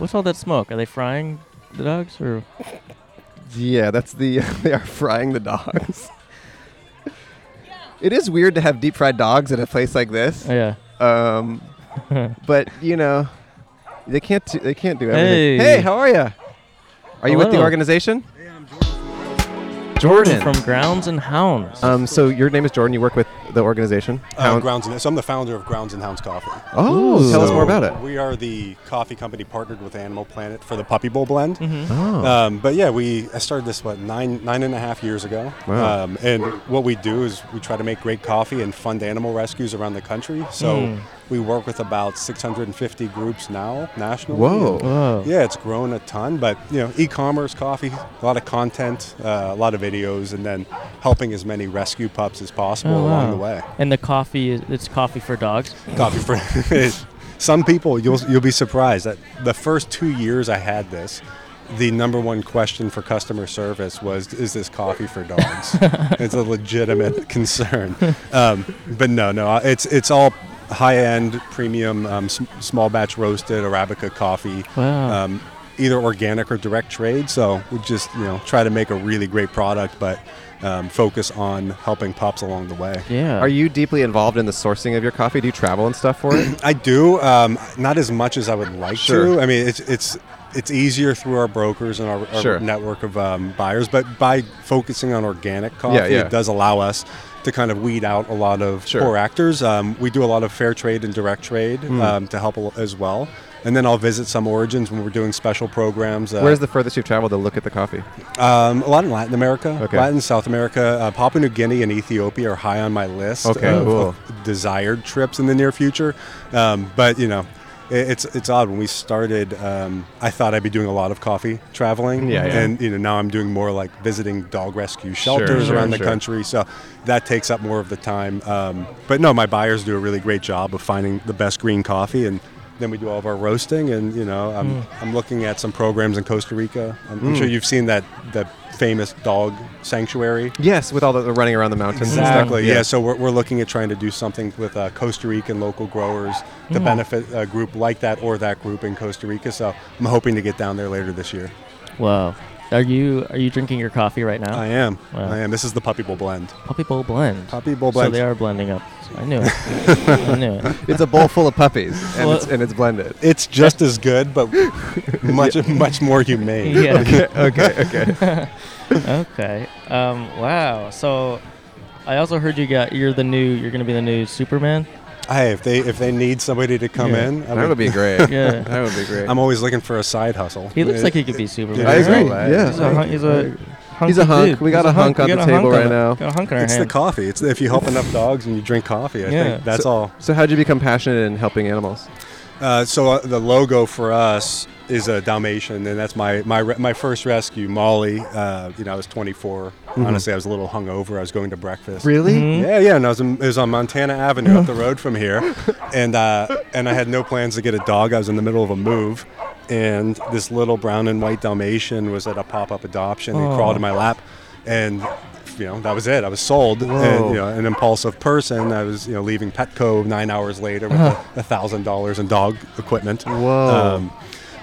Speaker 6: What's all that smoke? Are they frying the dogs or?
Speaker 2: Yeah, that's the they are frying the dogs. It is weird to have deep fried dogs at a place like this.
Speaker 6: Oh, yeah.
Speaker 2: Um, but you know, they can't do, they can't do everything.
Speaker 6: Hey.
Speaker 2: how are you? Are you with the
Speaker 6: Hello.
Speaker 2: organization?
Speaker 6: Jordan from Grounds and Hounds.
Speaker 2: Um, so your name is Jordan. You work with the organization.
Speaker 7: Uh,
Speaker 2: Hound-
Speaker 7: Grounds and so I'm the founder of Grounds and Hounds Coffee.
Speaker 2: oh, tell us
Speaker 7: So
Speaker 2: more about it.
Speaker 7: We are the coffee company partnered with Animal Planet for the Puppy Bowl blend.
Speaker 6: Mm-hmm.
Speaker 2: Oh,
Speaker 7: Um, but yeah, we I started this what nine nine and a half years ago.
Speaker 2: Wow.
Speaker 7: Um, and what we do is we try to make great coffee and fund animal rescues around the country. So
Speaker 6: Hmm.
Speaker 7: we work with about 650 groups now nationally.
Speaker 2: whoa.
Speaker 6: Whoa.
Speaker 7: Yeah, it's grown a ton, but you know, e-commerce, coffee, a lot of content, uh, a lot of videos, and then helping as many rescue pups as possible
Speaker 6: Oh,
Speaker 7: along
Speaker 6: wow.
Speaker 7: the way.
Speaker 6: And the coffee is it's coffee for dogs.
Speaker 7: coffee for some people you'll you'll be surprised that the first two years i had this the number one question for customer service was is this coffee for dogs it's a legitimate concern um, but no no it's it's all high-end premium um, s- small batch roasted arabica coffee
Speaker 6: Wow.
Speaker 7: um, either organic or direct trade so we just you know try to make a really great product but um, focus on helping pups along the way
Speaker 6: yeah.
Speaker 2: Are you deeply involved in the sourcing of your coffee? Do you travel and stuff for it?
Speaker 7: I do, um, not as much as I would like
Speaker 2: Sure.
Speaker 7: to. I mean, it's it's it's easier through our brokers and our, our
Speaker 2: Sure.
Speaker 7: network of um, buyers, but by focusing on organic coffee,
Speaker 2: yeah.
Speaker 7: it does allow us to kind of weed out a lot of
Speaker 2: Sure. Hmm.
Speaker 7: poor actors. Um, we do a lot of fair trade and direct trade um, to help a- as well. And then I'll visit some origins when we're doing special programs. Uh,
Speaker 2: Where's the furthest you've traveled to look at the coffee?
Speaker 7: um, a lot in Latin America,
Speaker 2: Okay.
Speaker 7: Latin South America, uh, Papua New Guinea, and Ethiopia are high on my list
Speaker 2: Okay,
Speaker 7: of,
Speaker 2: cool.
Speaker 7: of desired trips in the near future. Um, but you know, it, it's it's odd. When we started, um, I thought I'd be doing a lot of coffee traveling,
Speaker 2: Yeah, yeah.
Speaker 7: and you know now I'm doing more like visiting dog rescue shelters
Speaker 2: sure,
Speaker 7: around the
Speaker 2: sure.
Speaker 7: country. So that takes up more of the time. Um, but no, my buyers do a really great job of finding the best green coffee and. Then we do all of our roasting, and you know, I'm, I'm looking at some programs in Costa Rica. I'm, I'm sure you've seen that that famous dog sanctuary.
Speaker 2: Yes, with all the, the running around the mountains. and stuff.
Speaker 7: Exactly. Yeah. So we're, we're looking at trying to do something with uh, Costa Rican local growers to benefit a group like that or that group in Costa Rica. So I'm hoping to get down there later this year.
Speaker 6: Wow.
Speaker 4: Are you are you drinking your coffee right now?
Speaker 7: I am.
Speaker 4: Wow.
Speaker 7: I am. This is the Puppy Bowl blend.
Speaker 4: Puppy Bowl blend.
Speaker 7: Puppy Bowl
Speaker 4: So
Speaker 7: blend.
Speaker 4: they are blending up. I knew it. I knew it.
Speaker 2: It's a bowl full of puppies, and,
Speaker 4: Well-
Speaker 2: it's, and it's blended.
Speaker 7: It's just as good, but much much more humane.
Speaker 4: Yeah.
Speaker 2: okay, okay.
Speaker 4: okay. Um, wow. So I also heard you got you're the new you're gonna be the new Superman.
Speaker 7: Hey, if they if they need somebody to come
Speaker 4: Yeah.
Speaker 7: in, I
Speaker 2: That
Speaker 7: would,
Speaker 2: would be great.
Speaker 4: Yeah.
Speaker 2: That would be great.
Speaker 7: I'm always looking for a side hustle.
Speaker 4: He looks
Speaker 7: It-
Speaker 4: like he could be Superman.
Speaker 7: I
Speaker 4: right?
Speaker 7: agree.
Speaker 2: Yeah.
Speaker 4: He's a hun- he's a
Speaker 2: He's a
Speaker 4: hunky
Speaker 2: hunk.
Speaker 4: dude.
Speaker 2: We got
Speaker 4: He's
Speaker 2: a hunk on
Speaker 4: We
Speaker 2: the
Speaker 4: got a
Speaker 2: table
Speaker 4: hunk on
Speaker 2: right
Speaker 4: the-
Speaker 2: now.
Speaker 4: Got a hunk in our
Speaker 7: It's the
Speaker 4: hand.
Speaker 7: coffee. It's if you help enough dogs and you drink coffee. I
Speaker 4: Yeah.
Speaker 7: think that's all.
Speaker 2: So how'd you become passionate in helping animals?
Speaker 7: Uh, so uh, the logo for us is a Dalmatian, and that's my my re- my first rescue, Molly. Uh, you know, I was 24.
Speaker 4: Mm-hmm.
Speaker 7: Honestly, I was a little hungover. I was going to breakfast.
Speaker 2: Really?
Speaker 7: Yeah, yeah. And I was in, it was on Montana Avenue,
Speaker 2: Uh-huh.
Speaker 7: up the road from here, and uh, and I had no plans to get a dog. I was in the middle of a move, and this little brown and white Dalmatian was at a pop up adoption. He crawled
Speaker 2: Oh.
Speaker 7: in my lap, and you know that was it. I was sold, and
Speaker 2: Whoa.
Speaker 7: you know, an impulsive person. I was you know leaving Petco nine hours later with a thousand dollars in dog equipment.
Speaker 2: Uh-huh. Whoa.
Speaker 7: Um,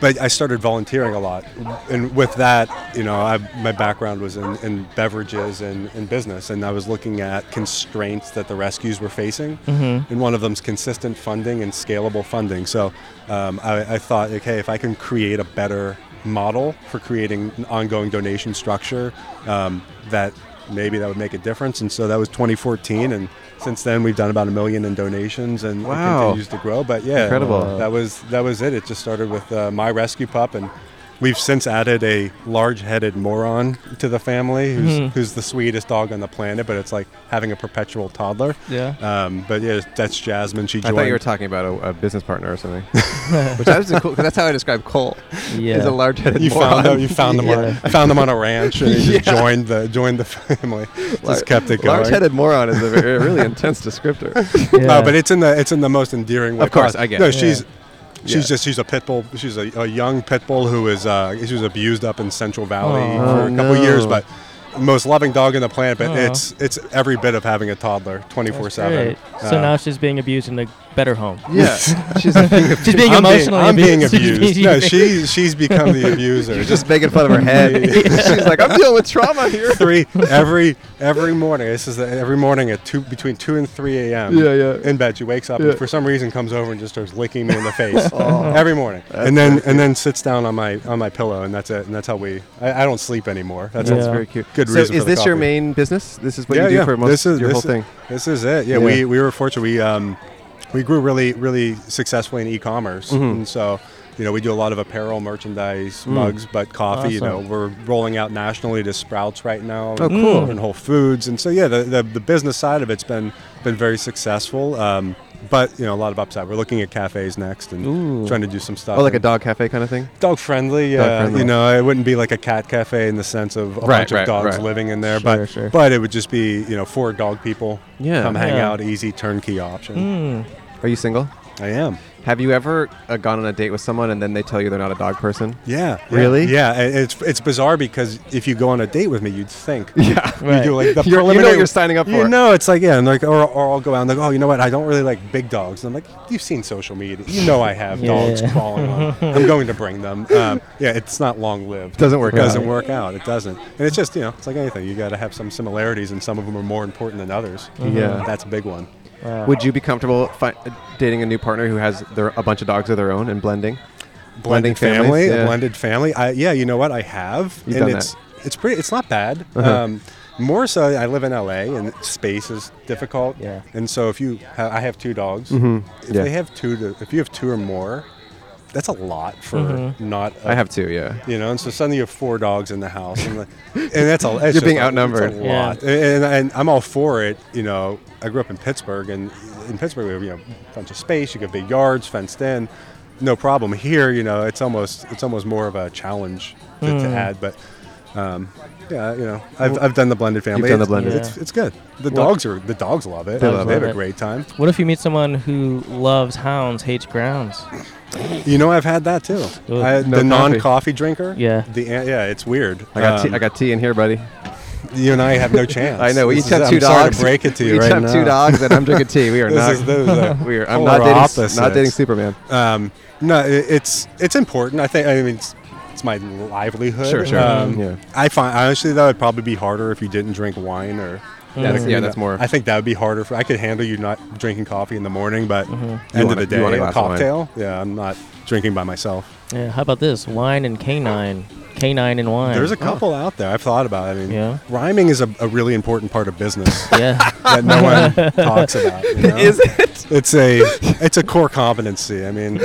Speaker 7: but I started volunteering a lot, and with that, you know, I, my background was in, in beverages and in business, and I was looking at constraints that the rescues were facing,
Speaker 2: Mm-hmm.
Speaker 7: and one of them's consistent funding and scalable funding. So um, I, I thought, okay, if I can create a better model for creating an ongoing donation structure, um, that maybe that would make a difference. And so that was 2014, and since then we've done about a million in donations, and it
Speaker 2: Wow.
Speaker 7: continues to grow. But yeah, uh,
Speaker 2: Incredible.
Speaker 7: that was that was it. It just started with uh, my rescue pup, and we've since added a large-headed moron to the family, who's
Speaker 2: Mm-hmm.
Speaker 7: who's the sweetest dog on the planet. But it's like having a perpetual toddler.
Speaker 4: Yeah.
Speaker 7: Um, but yeah, that's Jasmine. She
Speaker 2: I
Speaker 7: joined.
Speaker 2: thought you were talking about a, a business partner or something, which that was cool because that's how I describe Cole.
Speaker 4: Yeah.
Speaker 2: He's a large-headed
Speaker 7: You
Speaker 2: moron.
Speaker 7: found them. You found them
Speaker 4: Yeah.
Speaker 7: on found them on a ranch, and he just
Speaker 2: Yeah.
Speaker 7: joined the joined the family. Just kept it going.
Speaker 2: Large-headed moron is a very, really intense descriptor.
Speaker 4: Yeah.
Speaker 7: No, but it's in the it's in the most endearing way.
Speaker 2: Of course,
Speaker 7: possible.
Speaker 2: I get
Speaker 7: No,
Speaker 2: it.
Speaker 7: she's she's
Speaker 2: Yeah.
Speaker 7: just she's a pit bull. She's a, a young pit bull who is uh, she was abused up in Central Valley
Speaker 4: Aw.
Speaker 7: for a
Speaker 2: Oh,
Speaker 7: couple years,
Speaker 2: no. Uh-huh.
Speaker 7: but most loving dog on the planet. But
Speaker 4: Aw.
Speaker 7: it's it's every bit of having a toddler, twenty four
Speaker 4: That's
Speaker 7: seven. Uh,
Speaker 4: great. So now she's being abused in a better home.
Speaker 2: yeah, she's a thing of,
Speaker 4: She's being
Speaker 7: I'm being,
Speaker 4: emotionally
Speaker 7: I'm being
Speaker 4: abused. She's
Speaker 7: abused.
Speaker 4: being-
Speaker 7: no, she she's become the abuser.
Speaker 2: she's just making fun of her head. she's like, I'm dealing with trauma here.
Speaker 7: three every every morning. This is the, every morning at two between two and three a.m.
Speaker 2: Yeah, yeah.
Speaker 7: In bed, she wakes up
Speaker 2: Yeah. Oh.
Speaker 7: and for some reason comes over and just starts licking me in the face every morning, and then and then sits down on my on my pillow, and that's it. And that's how we. I, I don't sleep anymore. That's
Speaker 4: Yeah.
Speaker 7: it.
Speaker 2: That's very cute.
Speaker 7: Good
Speaker 2: so
Speaker 7: reason
Speaker 2: is
Speaker 7: for the
Speaker 2: this your
Speaker 7: coffee.
Speaker 2: main business? This is what you do for most
Speaker 7: this is,
Speaker 2: your
Speaker 7: this
Speaker 2: whole thing.
Speaker 7: is- This is it. Yeah,
Speaker 2: Yeah.
Speaker 7: we we were fortunate. We um we grew really really successfully in e-commerce,
Speaker 2: Mm-hmm.
Speaker 7: and so you know we do a lot of apparel, merchandise,
Speaker 2: Mm.
Speaker 7: mugs, but coffee. You know
Speaker 4: Awesome.
Speaker 7: we're rolling out nationally to Sprouts right now.
Speaker 2: Oh, cool.
Speaker 7: And Whole Foods, and so yeah, the the, the business side of it's been been very successful. Um, but you know a lot of upside. We're looking at cafes next and
Speaker 4: Ooh.
Speaker 7: trying to do some stuff.
Speaker 2: Oh, like a
Speaker 7: and-
Speaker 2: dog cafe kind of thing.
Speaker 7: dog friendly. Yeah,
Speaker 2: friendly.
Speaker 7: you know, it wouldn't be like a cat cafe in the sense of a
Speaker 2: Right,
Speaker 7: bunch
Speaker 2: right,
Speaker 7: of dogs
Speaker 2: right.
Speaker 7: living in there,
Speaker 4: Sure,
Speaker 7: but
Speaker 4: sure.
Speaker 7: but it would just be you know for dog people.
Speaker 2: Yeah. Hmm.
Speaker 7: come hang
Speaker 4: Yeah.
Speaker 7: out, easy turnkey option.
Speaker 4: Mm.
Speaker 2: Are you single?
Speaker 7: I am.
Speaker 2: Have you ever uh, gone on a date with someone and then they tell you they're not a dog person?
Speaker 7: Yeah, yeah.
Speaker 2: Really?
Speaker 7: Yeah, and it's it's bizarre because if you go on a date with me, you'd think
Speaker 2: Yeah.
Speaker 7: you do like
Speaker 2: You're-
Speaker 7: the
Speaker 2: you know what
Speaker 7: preliminary.
Speaker 2: you're signing up
Speaker 7: You
Speaker 2: for.
Speaker 7: know, it's like yeah, and like or, or I'll go out and like oh, you know what? I don't really like big dogs. And I'm like, you've seen social media. You know, I have dogs
Speaker 4: Yeah.
Speaker 7: crawling on. I'm going to bring them. Um, yeah, it's not long lived.
Speaker 2: Doesn't work
Speaker 7: It doesn't
Speaker 2: out.
Speaker 7: work out. It doesn't. And it's just you know, it's like anything. You got to have some similarities, and some of them are more important than others.
Speaker 2: Yeah.
Speaker 7: that's a big one.
Speaker 4: Wow.
Speaker 2: Would you be comfortable fi- dating a new partner who has their, a bunch of dogs of their own and blending? Blending
Speaker 7: blended
Speaker 2: families,
Speaker 7: family,
Speaker 2: yeah.
Speaker 7: a blended family. I yeah, you know what? I have,
Speaker 2: You've
Speaker 7: and
Speaker 2: done
Speaker 7: it's it's pretty. It's not bad.
Speaker 2: Uh-huh.
Speaker 7: Um, more so, I live in LA, and space is difficult.
Speaker 4: Yeah.
Speaker 7: And so, if you, ha- I have two dogs. If
Speaker 2: Mm-hmm. Yeah.
Speaker 7: they have two, to, if you have two or more, that's a lot for not. I
Speaker 2: Mm-hmm. I have two, yeah.
Speaker 7: You know, and so suddenly you have four dogs in the house, and, like, and that's all.
Speaker 2: You're being outnumbered.
Speaker 7: A
Speaker 4: Yeah.
Speaker 7: lot, and, and I'm all for it. You know, I grew up in Pittsburgh, and in Pittsburgh we have you know a bunch of space. You got big yards, fenced in, no problem. Here, you know, it's almost it's almost more of a challenge to, to
Speaker 4: Hmm.
Speaker 7: add, but. Um, yeah, you know, I've, I've done the blended family.
Speaker 2: done the
Speaker 7: It's-
Speaker 2: blended.
Speaker 7: It's, it's good. The dogs are the dogs love it.
Speaker 2: They
Speaker 7: They,
Speaker 2: love
Speaker 7: have
Speaker 4: it.
Speaker 7: a great time.
Speaker 4: What if you meet someone who loves hounds, hates grounds?
Speaker 7: You know, I've had that too.
Speaker 4: Ooh.
Speaker 2: No
Speaker 7: I, the
Speaker 2: coffee.
Speaker 7: non-coffee drinker.
Speaker 4: Yeah.
Speaker 7: The an- yeah, it's weird.
Speaker 2: I got,
Speaker 7: Um,
Speaker 2: tea, I got tea in here, buddy.
Speaker 7: You and I have no chance.
Speaker 2: I know. We
Speaker 7: This
Speaker 2: each
Speaker 7: is-
Speaker 2: have
Speaker 7: I'm
Speaker 2: two
Speaker 7: sorry
Speaker 2: dogs.
Speaker 7: to break it to you
Speaker 2: we each
Speaker 7: right
Speaker 2: have
Speaker 7: now.
Speaker 2: two dogs, and I'm drinking tea. We are
Speaker 7: This
Speaker 2: not.
Speaker 7: is, this is a
Speaker 2: we are, I'm not
Speaker 7: polar
Speaker 2: dating, s-
Speaker 7: opposites.
Speaker 2: not dating Superman.
Speaker 7: Um, no, i- it's it's important. I think. I mean, it's, it's it's my livelihood.
Speaker 2: Sure, sure.
Speaker 7: Um,
Speaker 2: Yeah.
Speaker 7: I find honestly that would probably be harder if you didn't drink wine or.
Speaker 2: That's-
Speaker 7: like,
Speaker 2: yeah,
Speaker 7: you
Speaker 2: that's
Speaker 7: know,
Speaker 2: more-
Speaker 7: I think that would be harder. For, I could handle you not drinking coffee in the morning, but end
Speaker 2: want
Speaker 7: of
Speaker 2: a-
Speaker 7: the
Speaker 2: Mm-hmm. you
Speaker 7: day,
Speaker 2: want a
Speaker 7: a,
Speaker 2: glass of wine.
Speaker 7: cocktail. Yeah, I'm not drinking by myself.
Speaker 4: Yeah, how about this? Wine and canine. Canine and wine.
Speaker 2: Oh.
Speaker 7: There's a couple out there. I've thought about. it. I mean,
Speaker 4: Yeah.
Speaker 7: rhyming is a, a really important part of business
Speaker 4: Yeah.
Speaker 7: that no one talks about. you know?
Speaker 2: Is it?
Speaker 7: It's a it's a core competency. I mean,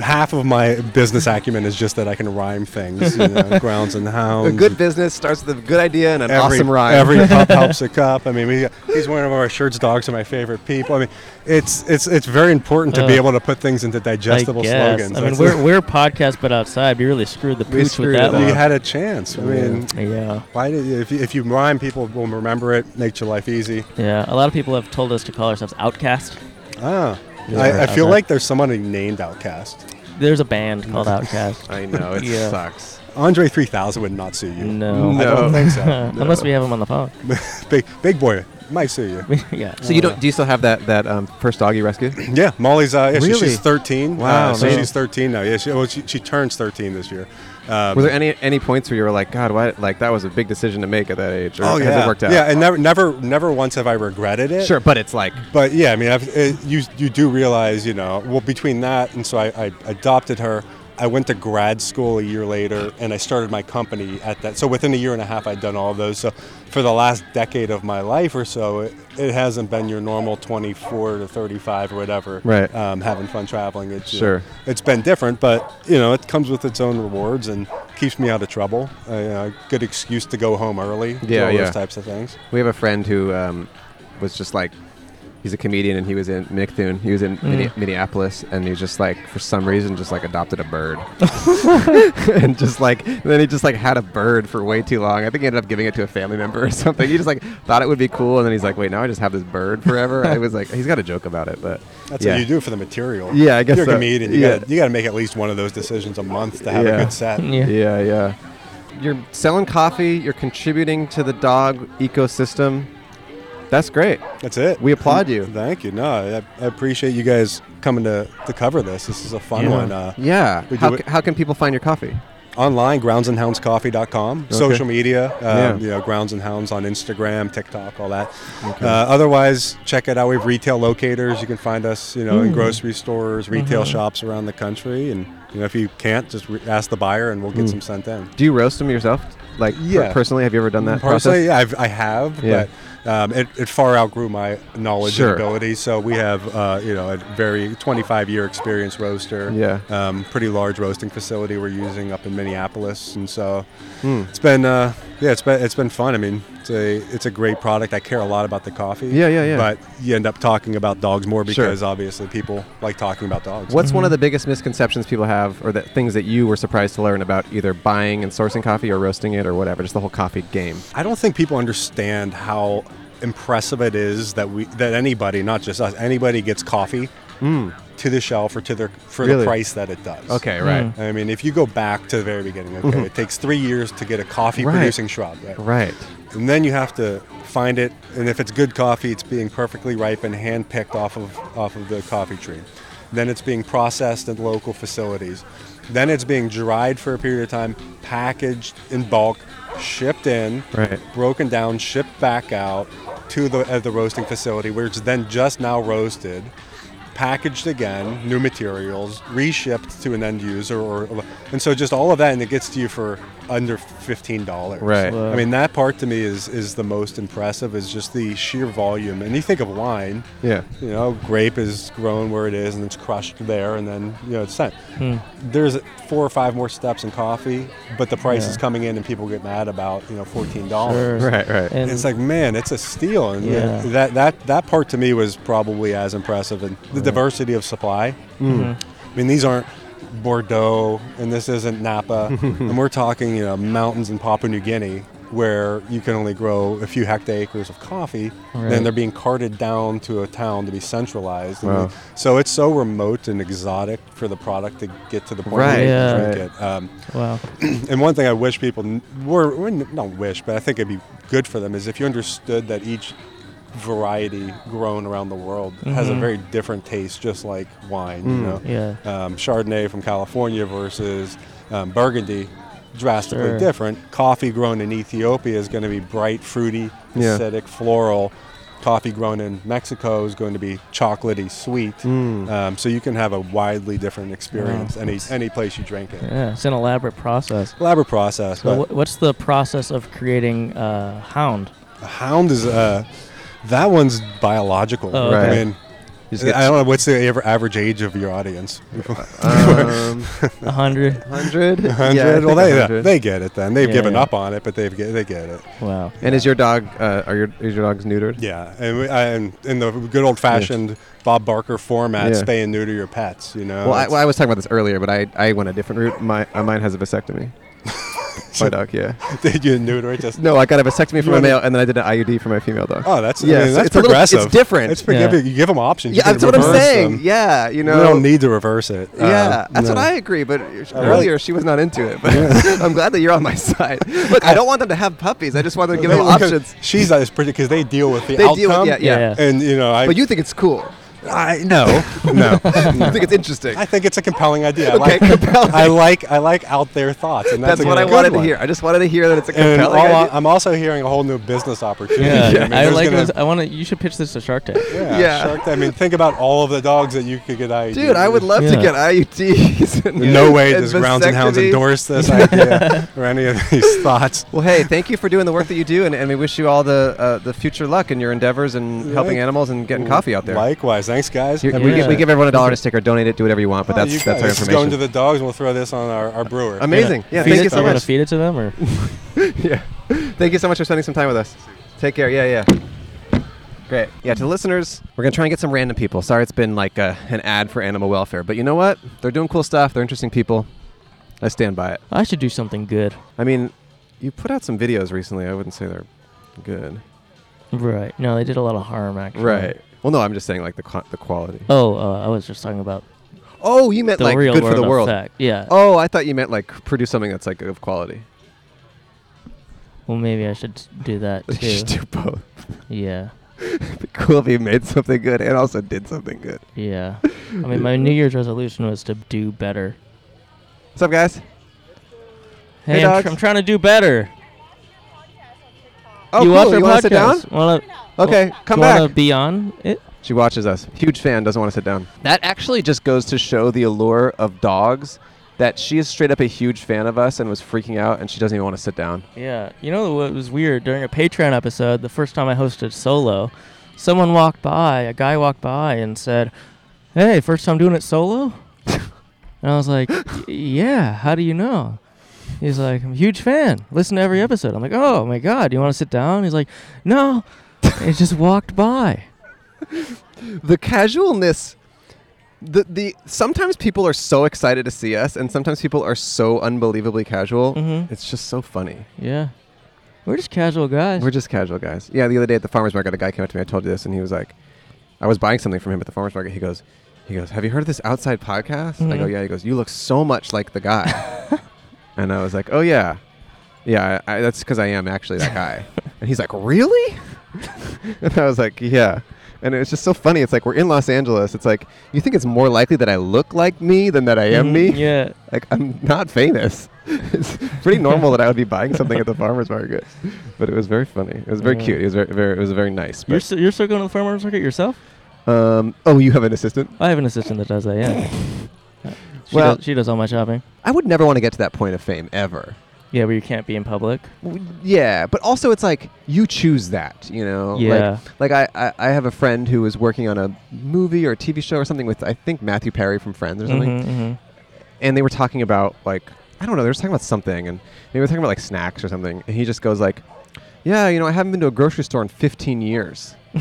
Speaker 7: half of my business acumen is just that I can rhyme things. You know, grounds and hounds.
Speaker 2: A good business starts with a good idea and an awesome rhyme.
Speaker 7: Every cup helps a cup. I mean, we he's one of our shirts. Dogs are my favorite people. I mean, it's it's it's very important to be
Speaker 4: Uh,
Speaker 7: able to put things into
Speaker 4: I
Speaker 7: digestible
Speaker 4: guess.
Speaker 7: slogans.
Speaker 4: I mean,
Speaker 7: That's-
Speaker 4: we're, we're a podcast, but outside, we really screwed the
Speaker 2: We
Speaker 4: pooch
Speaker 2: screwed
Speaker 4: with that
Speaker 2: it
Speaker 7: you
Speaker 4: one.
Speaker 2: up.
Speaker 7: had a chance. I mean.
Speaker 4: Yeah,
Speaker 7: Why did you, if, you, if you rhyme, people will remember it. Makes your life easy.
Speaker 4: yeah. A lot of people have told us to call ourselves Outcast.
Speaker 7: Ah,
Speaker 4: Yeah,
Speaker 7: I, I
Speaker 4: I've
Speaker 7: feel
Speaker 4: heard.
Speaker 7: like there's somebody named Outcast.
Speaker 4: There's a band called Outcast.
Speaker 2: I know it
Speaker 4: Yeah.
Speaker 2: sucks.
Speaker 7: Andre 3000 would not sue you.
Speaker 4: No.
Speaker 7: I
Speaker 2: No.
Speaker 7: don't think so.
Speaker 4: Unless we have them on the phone.
Speaker 7: big big boy might sue you.
Speaker 4: yeah.
Speaker 2: So you don't? Do you still have that that um, first dog you rescued?
Speaker 7: Yeah, Molly's. Uh, yeah, she-
Speaker 2: Really?
Speaker 7: she's 13.
Speaker 2: Wow,
Speaker 7: Uh, so
Speaker 2: man.
Speaker 7: she's 13 now. Yeah, she, well, she, she turns 13 this year. Um,
Speaker 2: Were there any any points where you were like, God, why? Like that was a big decision to make at that age. Or
Speaker 7: Oh yeah,
Speaker 2: has it worked out?
Speaker 7: yeah, and never, never, never once have I regretted it.
Speaker 2: sure. But it's like
Speaker 7: but yeah, I mean, I've, it, you you do realize, you know, well, between that and so I, I adopted her. I went to grad school a year later, and I started my company at that. So within a year and a half, I'd done all of those. So for the last decade of my life or so, it, it hasn't been your normal 24 to 35 or whatever.
Speaker 2: Right.
Speaker 7: Um, having fun traveling. It's you know,
Speaker 2: Sure.
Speaker 7: it's been different, but you know, it comes with its own rewards and keeps me out of trouble. Uh, you know, a good excuse to go home early. do
Speaker 2: Yeah,
Speaker 7: all
Speaker 2: yeah.
Speaker 7: Those types of things.
Speaker 2: we have a friend who um, was just like, he's a comedian and he was in Minneapolis. He was in Minne- Minneapolis and he was just like, for some reason, just like adopted a bird, and just like then he just like had a bird for way too long. I think he ended up giving it to a family member or something. He just like thought it would be cool, and then he's like, wait, now I just have this bird forever. I was like, he's got a joke about it, but
Speaker 7: That's
Speaker 2: yeah.
Speaker 7: what you do for the material.
Speaker 2: Yeah, I guess
Speaker 7: you're a
Speaker 2: so.
Speaker 7: comedian. You
Speaker 2: Yeah.
Speaker 7: got you got to make at least one of those decisions a month to have
Speaker 2: Yeah.
Speaker 7: a good set.
Speaker 4: Yeah.
Speaker 2: Yeah, yeah. You're selling coffee. You're contributing to the dog ecosystem. That's great.
Speaker 7: That's it.
Speaker 2: We applaud you.
Speaker 7: Thank you. No, I, I appreciate you guys coming to to cover this. This is a fun
Speaker 4: Yeah.
Speaker 7: one. Uh,
Speaker 2: Yeah.
Speaker 7: We
Speaker 2: How,
Speaker 7: do
Speaker 2: ca-
Speaker 7: it-
Speaker 2: how can people find your coffee?
Speaker 7: online, groundsandhoundscoffee.com, social media, um,
Speaker 2: Yeah.
Speaker 7: you know, grounds and hounds on Instagram, TikTok, all that. Uh, otherwise, check it out. We have retail locators. You can find us, you
Speaker 2: Hmm.
Speaker 7: know, in grocery stores, retail
Speaker 2: Uh-huh.
Speaker 7: shops around the country, and you know, if you can't, just re- ask the buyer, and we'll get
Speaker 2: Hmm.
Speaker 7: some sent in.
Speaker 2: Do you roast them yourself? Like per-
Speaker 7: Yeah.
Speaker 2: personally, have you ever done that process?
Speaker 7: personally, yeah, I've, I have,
Speaker 2: Yeah.
Speaker 7: but um, it, it far outgrew my knowledge
Speaker 2: Sure.
Speaker 7: and ability. So we have, uh, you know, a very 25 year experience roaster.
Speaker 2: Yeah.
Speaker 7: Um, pretty large roasting facility we're using up in Minneapolis, and so
Speaker 2: Hmm.
Speaker 7: it's been, uh, yeah, it's been it's been fun. I mean, it's a it's a great product. I care a lot about the coffee.
Speaker 2: Yeah, yeah, yeah.
Speaker 7: But you end up talking about dogs more
Speaker 2: Sure.
Speaker 7: because obviously people like talking about dogs.
Speaker 2: What's one of the biggest misconceptions people have, or that things that you were surprised to learn about either buying and sourcing coffee or roasting it or whatever? Just the whole coffee game.
Speaker 7: I don't think people understand how impressive it is that we that anybody, not just us, anybody gets coffee to the shelf or to their for
Speaker 2: Hmm. Really?
Speaker 7: the price that it does.
Speaker 2: Okay, right,
Speaker 7: I mean, if you go back to the very beginning, okay, it takes three years to get a coffee
Speaker 2: Right.
Speaker 7: producing shrub, right?
Speaker 2: right.
Speaker 7: And then you have to find it, and if it's good coffee, it's being perfectly ripe and hand picked off of off of the coffee tree. Then it's being processed at local facilities. Then it's being dried for a period of time, packaged in bulk, shipped in,
Speaker 2: Right.
Speaker 7: broken down, shipped back out to the at the roasting facility, where it's then just now roasted, packaged again, new materials, reshipped to an end user, or and so just all of that, and it gets to you for under fifteen dollars.
Speaker 2: Right.
Speaker 7: I mean, that part to me is is the most impressive. Is just the sheer volume, and you think of wine.
Speaker 2: Yeah.
Speaker 7: You know, grape is grown where it is, and it's crushed there, and then you know it's sent. There's four or five more steps in coffee, but the price is coming in, and people get mad about you know fourteen dollars.
Speaker 2: Right. Right.
Speaker 4: And
Speaker 7: It's like, man, it's a steal, and
Speaker 4: Yeah.
Speaker 7: that that that part to me was probably as impressive, and the diversity of supply.
Speaker 4: Mm-hmm.
Speaker 7: I mean, these aren't Bordeaux, and this isn't Napa, and we're talking you know mountains in Papua New Guinea where you can only grow a few hectares of coffee, and
Speaker 4: Right.
Speaker 7: then they're being carted down to a town to be centralized. And
Speaker 2: Wow.
Speaker 7: So it's so remote and exotic for the product to get to the point
Speaker 2: Right.
Speaker 7: where you
Speaker 4: Yeah.
Speaker 7: can drink it. Um,
Speaker 4: wow.
Speaker 7: and one thing I wish people kn- were, were n- not wish, but I think it'd be good for them is if you understood that each variety grown around the world has a
Speaker 4: Mm-hmm.
Speaker 7: very different taste, just like wine. You know,
Speaker 4: Mm. Yeah.
Speaker 7: um, Chardonnay from California versus um, Burgundy drastically
Speaker 4: Sure.
Speaker 7: different. Coffee grown in Ethiopia is going to be bright, fruity,
Speaker 2: Yeah.
Speaker 7: acidic, floral. Coffee grown in Mexico is going to be chocolatey, sweet.
Speaker 4: Mm.
Speaker 7: Um, so you can have a widely different experience any any place you drink it.
Speaker 4: Yeah, it's an elaborate process.
Speaker 7: Elaborate process.
Speaker 4: So,
Speaker 7: but
Speaker 4: wh- what's the process of creating uh, hound?
Speaker 7: a hound is uh, that one's biological.
Speaker 4: Oh,
Speaker 2: okay.
Speaker 7: I mean,
Speaker 2: Just
Speaker 7: I don't know what's the aver- average age of your audience.
Speaker 2: um,
Speaker 4: A hundred.
Speaker 2: 100? Yeah, I
Speaker 7: hundred. well,
Speaker 2: think
Speaker 7: they
Speaker 2: 100.
Speaker 7: they get it then. They've
Speaker 4: Yeah,
Speaker 7: given
Speaker 4: yeah.
Speaker 7: up on it, but they've get, they get it.
Speaker 4: Wow.
Speaker 2: And is your dog, uh, are your, is your dogs neutered?
Speaker 7: Yeah, and, we, and in the good old fashioned Bob Barker format,
Speaker 2: Yeah.
Speaker 7: spay and neuter your pets. You know.
Speaker 2: Well I,
Speaker 7: It's-
Speaker 2: well, I was talking about this earlier, but I, I went a different route. My, uh, mine has a vasectomy. my dog, yeah.
Speaker 7: did you neuter it? Just
Speaker 2: No, I got a vasectomy for my
Speaker 7: wanna-
Speaker 2: male, and then I did an IUD for my female dog.
Speaker 7: oh, that's
Speaker 2: Yeah,
Speaker 7: I mean,
Speaker 2: so
Speaker 7: that's
Speaker 2: it's a little- it's
Speaker 7: progressive.
Speaker 2: different.
Speaker 7: It's forgiving.
Speaker 4: Yeah.
Speaker 7: You give them options. You
Speaker 2: yeah,
Speaker 7: can
Speaker 2: that's what I'm
Speaker 7: reverse
Speaker 2: saying.
Speaker 7: them.
Speaker 2: Yeah, you know.
Speaker 7: You don't need to reverse it. Uh,
Speaker 2: Yeah, that's what
Speaker 7: no.
Speaker 2: I agree. But earlier she was not into it. But I'm glad that you're on my side. Look, I don't want them to have puppies. I just want to give them
Speaker 7: Because
Speaker 2: options.
Speaker 7: She's uh, pretty because they deal with the
Speaker 2: They
Speaker 7: outcome.
Speaker 2: deal with yeah, yeah.
Speaker 4: Yeah.
Speaker 7: And you know, I
Speaker 2: But you think it's cool.
Speaker 7: I no no.
Speaker 2: You think it's interesting.
Speaker 7: I think it's a compelling idea. I
Speaker 2: Okay,
Speaker 7: like,
Speaker 2: compelling.
Speaker 7: I like I like out there thoughts, and that's,
Speaker 2: that's
Speaker 7: a
Speaker 2: what I
Speaker 7: good
Speaker 2: wanted
Speaker 7: one.
Speaker 2: to hear. I just wanted to hear that it's a
Speaker 7: And
Speaker 2: compelling.
Speaker 7: all
Speaker 2: idea.
Speaker 7: I, am also hearing a whole new business opportunity.
Speaker 4: Yeah,
Speaker 7: mean,
Speaker 4: I
Speaker 7: there's
Speaker 4: like. uh,
Speaker 7: gonna-
Speaker 4: this. I want to. You should pitch this to Shark Tank.
Speaker 7: Yeah,
Speaker 2: Yeah.
Speaker 7: Shark Tank. I mean, think about all of the dogs that you could get IUD.
Speaker 2: Dude, I would love to
Speaker 4: Yeah.
Speaker 2: get IUDs. and-
Speaker 7: No way
Speaker 2: and
Speaker 7: does Grounds and Hounds
Speaker 2: vasectomies.
Speaker 7: endorse this idea or any of these thoughts.
Speaker 2: Well, hey, thank you for doing the work that you do, and, and we wish you all the uh, the future luck in your endeavors and helping
Speaker 7: Like-
Speaker 2: animals and getting coffee out there.
Speaker 7: Likewise, thanks guys.
Speaker 2: Here-
Speaker 7: And
Speaker 2: we,
Speaker 4: Yeah.
Speaker 2: give, we give everyone a dollar to sticker. Donate it. Do whatever you want. But
Speaker 7: oh,
Speaker 2: that's
Speaker 7: you
Speaker 2: that's
Speaker 7: guys,
Speaker 2: our
Speaker 7: this is going to
Speaker 2: information.
Speaker 7: the dogs, and we'll throw this on our, our brewer.
Speaker 2: Amazing. Yeah.
Speaker 4: Feed
Speaker 2: Thank
Speaker 4: it-
Speaker 2: you so
Speaker 4: you wanna
Speaker 2: much.
Speaker 4: feed it to them, or
Speaker 2: yeah. Thank you so much for spending some time with us. Take care. Yeah, yeah. Great. Yeah, to the listeners, we're going to try and get some random people. Sorry it's been like uh an ad for animal welfare, but you know what? They're doing cool stuff. They're interesting people. I stand by it.
Speaker 4: I should do something good.
Speaker 2: I mean, you put out some videos recently. I wouldn't say they're good.
Speaker 4: Right. No, they did a lot of harm actually.
Speaker 2: Well, no, I'm just saying like the qua the quality.
Speaker 4: Oh, uh, I was just talking about
Speaker 2: Oh, you meant
Speaker 4: the
Speaker 2: like
Speaker 4: real
Speaker 2: good for
Speaker 4: world
Speaker 2: the world.
Speaker 4: effect. Yeah.
Speaker 2: Oh, I thought you meant like produce something that's like of quality.
Speaker 4: Well, maybe I should do that
Speaker 2: You should
Speaker 4: too.
Speaker 2: do both.
Speaker 4: yeah.
Speaker 2: It'd be cool if you made something good and also did something good.
Speaker 4: Yeah. I mean, my New Year's resolution was to do better.
Speaker 2: What's up, guys?
Speaker 4: Hey,
Speaker 2: Hey,
Speaker 4: I'm,
Speaker 2: dogs.
Speaker 4: tr- I'm trying to do better.
Speaker 2: Oh,
Speaker 4: you
Speaker 2: cool.
Speaker 4: watch our
Speaker 2: you want to sit down?
Speaker 4: podcast? Wanna,
Speaker 2: Okay, come
Speaker 4: you wanna
Speaker 2: back.
Speaker 4: be on it?
Speaker 2: She watches us. Huge fan, doesn't want to sit down. That actually just goes to show the allure of dogs that she is straight up a huge fan of us and was freaking out and she doesn't even want to sit down.
Speaker 4: Yeah. You know what was weird? During a Patreon episode, the first time I hosted solo, someone walked by, a guy walked by and said, Hey, first time doing it solo? and I was like, "Y- Yeah, how do you know? He's like, I'm a huge fan. Listen to every episode. I'm like, Oh my God, you want to sit down? He's like, No. and he just walked by.
Speaker 2: The casualness the the sometimes people are so excited to see us and sometimes people are so unbelievably casual.
Speaker 4: Mhm.
Speaker 2: It's just so funny.
Speaker 4: Yeah. We're just casual guys.
Speaker 2: We're just casual guys. Yeah, the other day at the farmers market, a guy came up to me. I told you this, and he was like, I was buying something from him at the farmers market. He goes, he goes, have you heard of this outside podcast? I go,
Speaker 4: Mhm.
Speaker 2: yeah. He goes, you look so much like the guy. and I was like, oh yeah, yeah. I, I, that's because I am actually that guy. and he's like, really? and I was like, yeah. And it was just so funny. It's like we're in Los Angeles. It's like you think it's more likely that I look like me than that I am
Speaker 4: Mhm,
Speaker 2: me.
Speaker 4: Yeah.
Speaker 2: Like I'm not famous. it's pretty normal that I would be buying something at the farmers market, but it was very funny. It was very
Speaker 4: Yeah.
Speaker 2: cute. It was very, very it was very nice.
Speaker 4: You're,
Speaker 2: But,
Speaker 4: st- you're still going to the farmer's market yourself?
Speaker 2: um, oh, you have an assistant?
Speaker 4: I have an assistant that does that, yeah. Uh, She
Speaker 2: Well-
Speaker 4: does, she does all my shopping.
Speaker 2: I would never want to get to that point of fame ever.
Speaker 4: Yeah, but you can't be in public.
Speaker 2: W- Yeah, but also it's like you choose that, you know.
Speaker 4: Yeah.
Speaker 2: Oh,
Speaker 4: Mm-hmm,
Speaker 2: Like, like I, I, I have a friend who was working on a movie or a TV show or something with I think Matthew Perry from Friends or something.
Speaker 4: Mhm,
Speaker 2: and they were talking about like I don't know, they were just talking about something, and they were talking about like snacks or something. And he just goes like, "Yeah, you know, I haven't been to a grocery store in 15 years."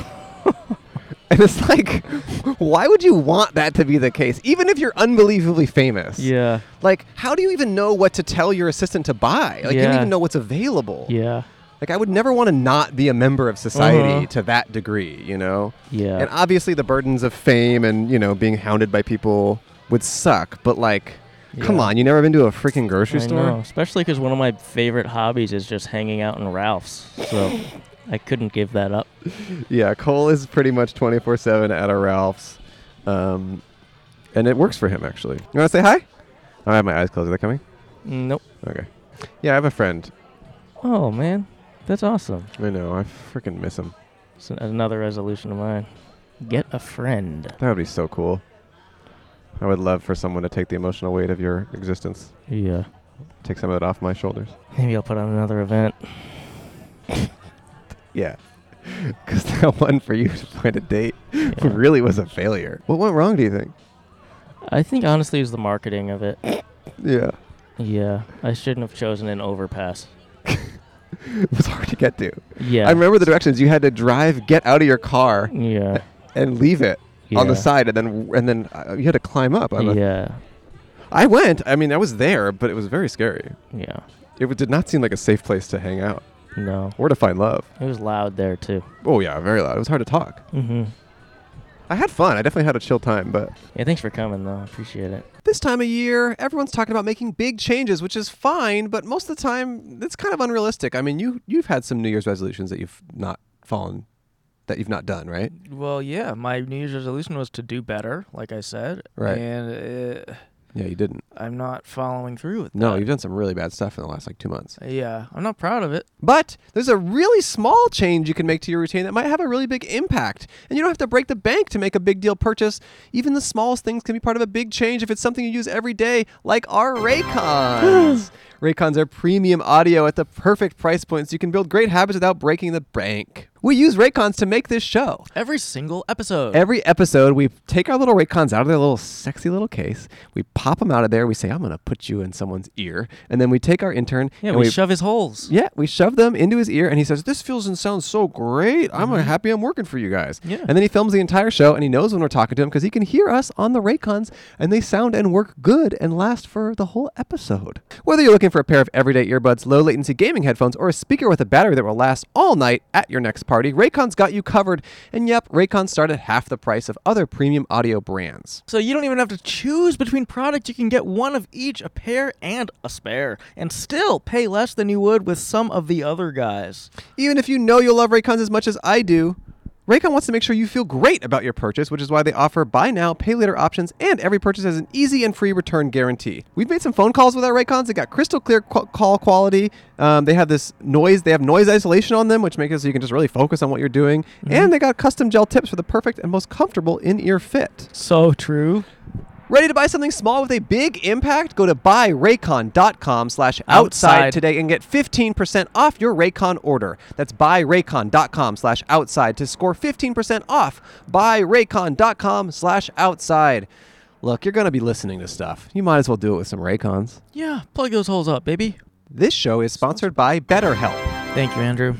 Speaker 2: and it's like, why would you want that to be the case, even if you're unbelievably famous?
Speaker 4: mhm. Yeah.
Speaker 2: Like, how do you even know what to tell your assistant to buy? Like, you don't
Speaker 4: Yeah.
Speaker 2: even know what's available.
Speaker 4: Yeah.
Speaker 2: Like, I would never want to not be a member of society
Speaker 4: Uh-huh.
Speaker 2: to that degree, you know?
Speaker 4: Yeah.
Speaker 2: And obviously, the burdens of fame and you know being hounded by people would suck. But like, come
Speaker 4: Yeah.
Speaker 2: on, you never been to a freaking grocery
Speaker 4: I
Speaker 2: store?
Speaker 4: know, especially because one of my favorite hobbies is just hanging out in Ralph's. So I couldn't give that up.
Speaker 2: Yeah, Cole is pretty much twenty four seven at a Ralph's, um, Oh, and it works for him actually. You want to say hi? I have my eyes closed. Are they coming?
Speaker 4: Nope.
Speaker 2: Okay. Yeah, I have a friend.
Speaker 4: Oh man, that's awesome.
Speaker 2: I know. I freaking miss him.
Speaker 4: It's an- another resolution of mine. Get a friend.
Speaker 2: That would be so cool. I would love for someone to take the emotional weight of your existence,
Speaker 4: Yeah.
Speaker 2: take some of it off my shoulders.
Speaker 4: Maybe I'll put on another event.
Speaker 2: Yeah. Because that one for you to find a date really was a failure. What went wrong, do you think?
Speaker 4: I think honestly it was the marketing of it.
Speaker 2: Yeah.
Speaker 4: Yeah. I shouldn't have chosen an overpass.
Speaker 2: It was hard to get to.
Speaker 4: Yeah.
Speaker 2: I remember the directions. You had to drive, get out of your car,
Speaker 4: Yeah.
Speaker 2: and leave it on the
Speaker 4: Yeah.
Speaker 2: side, and then and then uh, you had to climb up. On yeah.
Speaker 4: Yeah.
Speaker 2: I went. I mean, I was there, but it was very scary.
Speaker 4: Yeah.
Speaker 2: It w- did not seem like a safe place to hang out
Speaker 4: No.
Speaker 2: or to find love.
Speaker 4: It was loud there too.
Speaker 2: Oh yeah, very loud. It was hard to talk.
Speaker 4: Mm-hmm.
Speaker 2: I had fun. I definitely had a chill time, but
Speaker 4: Yeah, thanks for coming though. I appreciate it.
Speaker 2: this time of year, everyone's talking about making big changes, which is fine, but most of the time, it's kind of unrealistic. I mean, you you've had some New Year's resolutions that you've not fallen, that you've not done, right?
Speaker 6: Well, yeah, my New Year's resolution was to do better, like I said.
Speaker 2: Right.
Speaker 6: And uh
Speaker 2: Yeah, you didn't.
Speaker 6: I'm not following through with
Speaker 2: No,
Speaker 6: that.
Speaker 2: you've done some really bad stuff in the last like two months.
Speaker 6: Yeah, I'm not proud of it.
Speaker 2: But there's a really small change you can make to your routine that might have a really big impact. And you don't have to break the bank to make a big deal purchase. Even the smallest things can be part of a big change if it's something you use every day, like our Raycons. Raycons are premium audio at the perfect price point so you can build great habits without breaking the bank. We use Raycons to make this show.
Speaker 6: Every single episode.
Speaker 2: Every episode, we take our little Raycons out of their little sexy little case. We pop them out of there. We say, I'm going to put you in someone's ear. And then we take our intern
Speaker 6: yeah,
Speaker 2: and
Speaker 6: we, shove his holes.
Speaker 2: yeah, we shove them into his ear, and he says, "This feels and sounds so great. I'm uh, happy I'm working for you guys."
Speaker 6: Yeah.
Speaker 2: And then he films the entire show, and he knows when we're talking to him because he can hear us on the Raycons, and they sound and work good and last for the whole episode. Whether you're looking for a pair of everyday earbuds, low latency gaming headphones, or a speaker with a battery that will last all night at your next party, Raycons got you covered. And yep, Raycons start at half the price of other premium audio brands.
Speaker 6: So you don't even have to choose between products. You can get one of each, a pair and a spare, and still pay less than you would with some of the other guys.
Speaker 2: Even if you know you'll love Raycons as much as I do, Raycon wants to make sure you feel great about your purchase, which is why they offer buy now, pay later options, and every purchase has an easy and free return guarantee. We've made some phone calls with our Raycons. They got crystal clear qu- call quality. Um, they have this noise. They have noise isolation on them, which makes it so you can just really focus on what you're doing. And they got custom gel tips for the perfect and most comfortable in-ear fit.
Speaker 6: So true.
Speaker 2: Ready to buy something small with a big impact? Go to buyraycon.com slash outside
Speaker 6: Outside.
Speaker 2: today and get 15% off your Raycon order. That's buyraycon.com slash outside to score 15% off. Buyraycon.com slash outside. Look, you're going to be listening to stuff. You might as well do it with some Raycons.
Speaker 6: Yeah, plug those holes up, baby.
Speaker 2: This show is sponsored by BetterHelp.
Speaker 6: Thank you, Andrew.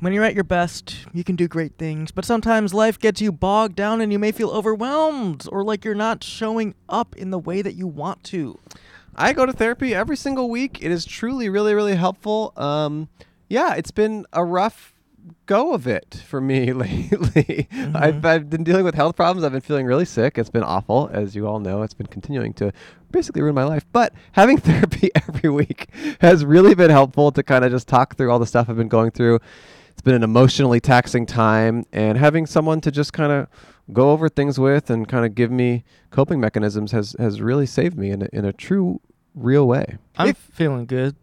Speaker 6: When you're at your best, you can do great things, but sometimes life gets you bogged down and you may feel overwhelmed or like you're not showing up in the way that you want to.
Speaker 2: I go to therapy every single week. It is truly, really, really helpful. Um, yeah, it's been a rough go of it for me lately. I've, I've been dealing with health problems. I've been feeling really sick. It's been awful, as you all know. It's been continuing to basically ruin my life. But having therapy every week has really been helpful to kind of just talk through all the stuff I've been going through. It's been an emotionally taxing time, and having someone to just kind of go over things with and kind of give me coping mechanisms has has really saved me in a, in a true real way.
Speaker 6: I'm
Speaker 2: If-
Speaker 6: feeling good.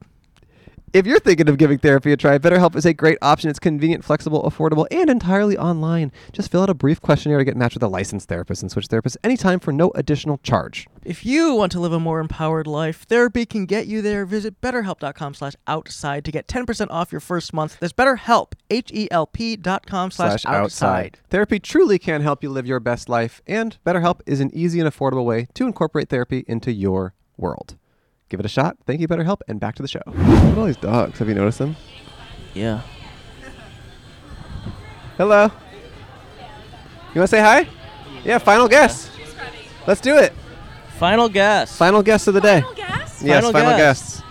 Speaker 2: If you're thinking of giving therapy a try, BetterHelp is a great option. It's convenient, flexible, affordable, and entirely online. Just fill out a brief questionnaire to get matched with a licensed therapist and switch therapists anytime for no additional charge.
Speaker 6: If you want to live a more empowered life, therapy can get you there. Visit betterhelp.com slash outside to get 10% off your first month. That's betterhelp, H-E-L-P dot com slash outside.
Speaker 2: Therapy truly can help you live your best life, and BetterHelp is an easy and affordable way to incorporate therapy into your world. Give it a shot. Thank you, BetterHelp, and back to the show. Look at all these dogs. Have you noticed them?
Speaker 4: Yeah.
Speaker 2: Hello. You want to say hi? Yeah, final guess. Let's do it.
Speaker 4: Final guess.
Speaker 2: Final guess of the day.
Speaker 5: Gas?
Speaker 2: Yes, final,
Speaker 4: Final
Speaker 2: guests.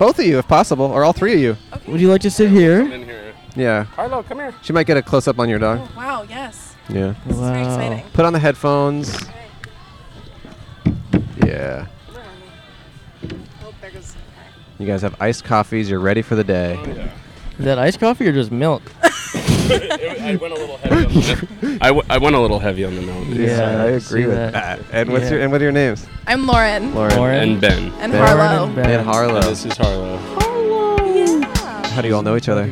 Speaker 2: Both of you, if possible, or all three of you.
Speaker 4: Would you like to sit here?
Speaker 8: in here.
Speaker 2: Yeah.
Speaker 8: Carlo, come here.
Speaker 2: She might get a close up on your dog.
Speaker 5: Wow, yes.
Speaker 2: Yeah.
Speaker 5: This is very exciting.
Speaker 2: Put on the headphones. Yeah. You guys have iced coffees. You're ready for the day.
Speaker 4: Is that iced coffee or just milk?
Speaker 9: It- I went a little heavy. On the, I, w- I went a little heavy on the note.
Speaker 2: I agree
Speaker 4: see
Speaker 2: with
Speaker 4: that.
Speaker 2: that. And what's
Speaker 4: Yeah.
Speaker 2: your and what are your names?
Speaker 5: I'm Lauren.
Speaker 2: Lauren,
Speaker 4: Lauren.
Speaker 9: And Ben.
Speaker 5: And
Speaker 2: Ben.
Speaker 5: Harlow.
Speaker 4: Ben.
Speaker 2: and Harlow.
Speaker 9: And this is Harlow.
Speaker 2: How do you all know each other?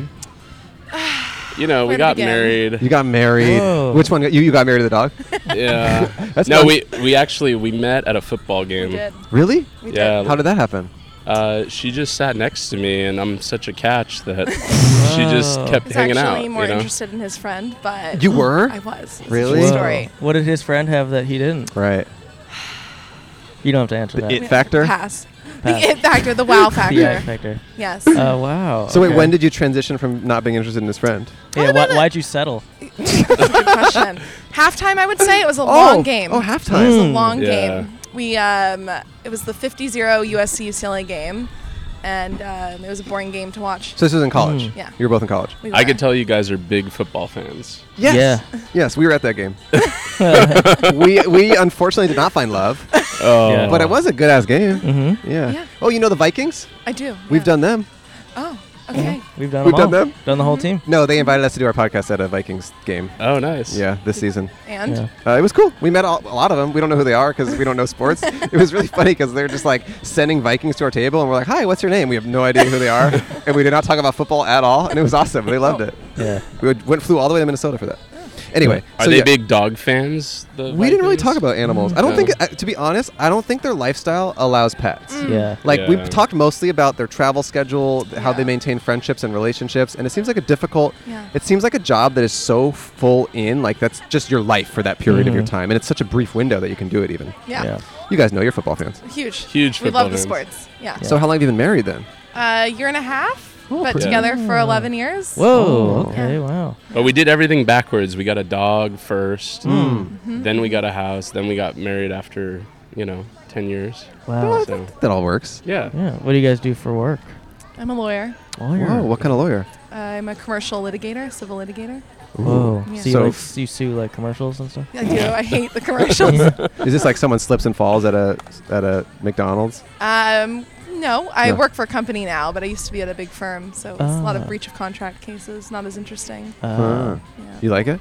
Speaker 9: You know, we
Speaker 5: Where to
Speaker 9: got
Speaker 5: begin?
Speaker 9: married.
Speaker 2: You got married.
Speaker 4: Whoa.
Speaker 2: Which one? got- You you got married to the dog?
Speaker 9: Yeah.
Speaker 2: That's
Speaker 9: no,
Speaker 2: fun.
Speaker 9: we we actually we met at a football game.
Speaker 5: Good.
Speaker 2: Really?
Speaker 5: We did.
Speaker 9: Yeah.
Speaker 2: How did that happen?
Speaker 9: Uh, she just sat next to me, and I'm such a catch that she just
Speaker 2: Oh.
Speaker 4: Wow.
Speaker 9: kept
Speaker 5: I was
Speaker 9: hanging
Speaker 5: actually
Speaker 9: out.
Speaker 5: more
Speaker 9: you know?
Speaker 5: interested in his friend, but
Speaker 2: You were?
Speaker 5: I was. It's a true
Speaker 2: Really? Whoa.
Speaker 5: Story.
Speaker 4: What did his friend have that he didn't?
Speaker 2: Right.
Speaker 4: You don't have to answer that.
Speaker 2: It factor.
Speaker 5: Pass.
Speaker 4: Pass.
Speaker 5: The it factor, the wow factor.
Speaker 4: The X Factor.
Speaker 5: Yes.
Speaker 4: Oh wow.
Speaker 2: So wait,
Speaker 4: okay.
Speaker 2: when did you transition from not being interested in his friend?
Speaker 4: Yeah, why, why'd you settle?
Speaker 5: That's a good question. Halftime, I would say it was a long game.
Speaker 2: Oh,
Speaker 5: It was
Speaker 2: halftime.
Speaker 5: a long
Speaker 9: Hmm, Yeah.
Speaker 5: game. We um, it was the 50-0 USC UCLA game, and um, it was a boring game to watch.
Speaker 2: So this was in college.
Speaker 9: Mm.
Speaker 5: Yeah.
Speaker 2: You were both in college.
Speaker 5: We
Speaker 9: I
Speaker 5: were.
Speaker 9: could tell you guys are big football fans.
Speaker 2: Yes.
Speaker 4: Yeah.
Speaker 2: Yes, we were at that game. we we unfortunately did not find love,
Speaker 9: Oh,
Speaker 4: Yeah.
Speaker 2: but it was a good ass game.
Speaker 4: Mm-hmm.
Speaker 2: Yeah.
Speaker 5: Yeah.
Speaker 2: Oh, you know the Vikings?
Speaker 5: I do.
Speaker 2: We've
Speaker 5: yeah.
Speaker 2: done them.
Speaker 5: Oh, okay.
Speaker 4: We've done.
Speaker 2: We've
Speaker 4: them all.
Speaker 2: done them?
Speaker 4: the whole team.
Speaker 2: No, they invited us to do our podcast at a Vikings game.
Speaker 9: oh, nice.
Speaker 2: Yeah, this season.
Speaker 5: And
Speaker 4: Yeah.
Speaker 2: Uh, it was cool. We met all, a lot of them. We don't know who they are because we don't know sports. it was really funny because they're just like sending Vikings to our table, and we're like, "Hi, what's your name?" We have no idea who they are, and we did not talk about football at all. And it was awesome. They loved it.
Speaker 4: Yeah.
Speaker 2: We would- went flew all the way to Minnesota for that. Anyway,
Speaker 9: Are
Speaker 2: so
Speaker 9: they
Speaker 2: yeah,
Speaker 9: big dog fans? The
Speaker 2: we didn't really
Speaker 9: Vikings?
Speaker 2: talk about animals. I don't think, uh, to be honest, I don't think their lifestyle allows pets.
Speaker 5: Mm.
Speaker 4: Yeah.
Speaker 2: Like
Speaker 9: Yeah.
Speaker 2: we've talked mostly about their travel schedule, th- how they
Speaker 5: Yeah.
Speaker 2: maintain friendships and relationships, and it seems like a difficult.
Speaker 5: Yeah.
Speaker 2: It seems like a job that is so full in, like that's just your life for that period of your time, and it's such a brief window that you can do it. Even
Speaker 5: yeah.
Speaker 4: Yeah.
Speaker 2: you guys know you're football fans.
Speaker 5: Huge.
Speaker 9: Huge
Speaker 5: We
Speaker 9: football
Speaker 5: love the
Speaker 9: fans.
Speaker 5: sports. Yeah.
Speaker 2: So how long have you been married then?
Speaker 5: A year and a half, but
Speaker 9: pretty-
Speaker 5: together for 11 years.
Speaker 4: Whoa.
Speaker 2: Oh.
Speaker 4: Okay.
Speaker 5: Yeah.
Speaker 4: Wow.
Speaker 9: But we did everything backwards. We got a dog first,
Speaker 2: Hmm.
Speaker 5: Mm-hmm.
Speaker 9: then we got a house, then we got married after you know ten years.
Speaker 4: Wow.
Speaker 9: So
Speaker 2: That all works.
Speaker 9: yeah,
Speaker 4: Yeah. What do you guys do for work?
Speaker 5: I'm a lawyer.
Speaker 2: Whoa, what kind of lawyer?
Speaker 5: I'm a commercial litigator, civil litigator.
Speaker 4: Whoa.
Speaker 5: Yeah.
Speaker 4: So, you,
Speaker 2: So-
Speaker 4: like, s- you sue like commercials and stuff.
Speaker 5: I do. I hate the commercials.
Speaker 2: Is this like someone slips and falls at a at a McDonald's?
Speaker 5: um, no, I
Speaker 2: No.
Speaker 5: work for a company now, but I used to be at a big firm, so it's a lot
Speaker 4: Ah.
Speaker 5: of breach of contract cases. Not as interesting.
Speaker 4: Uh,
Speaker 5: Yeah.
Speaker 2: You like it?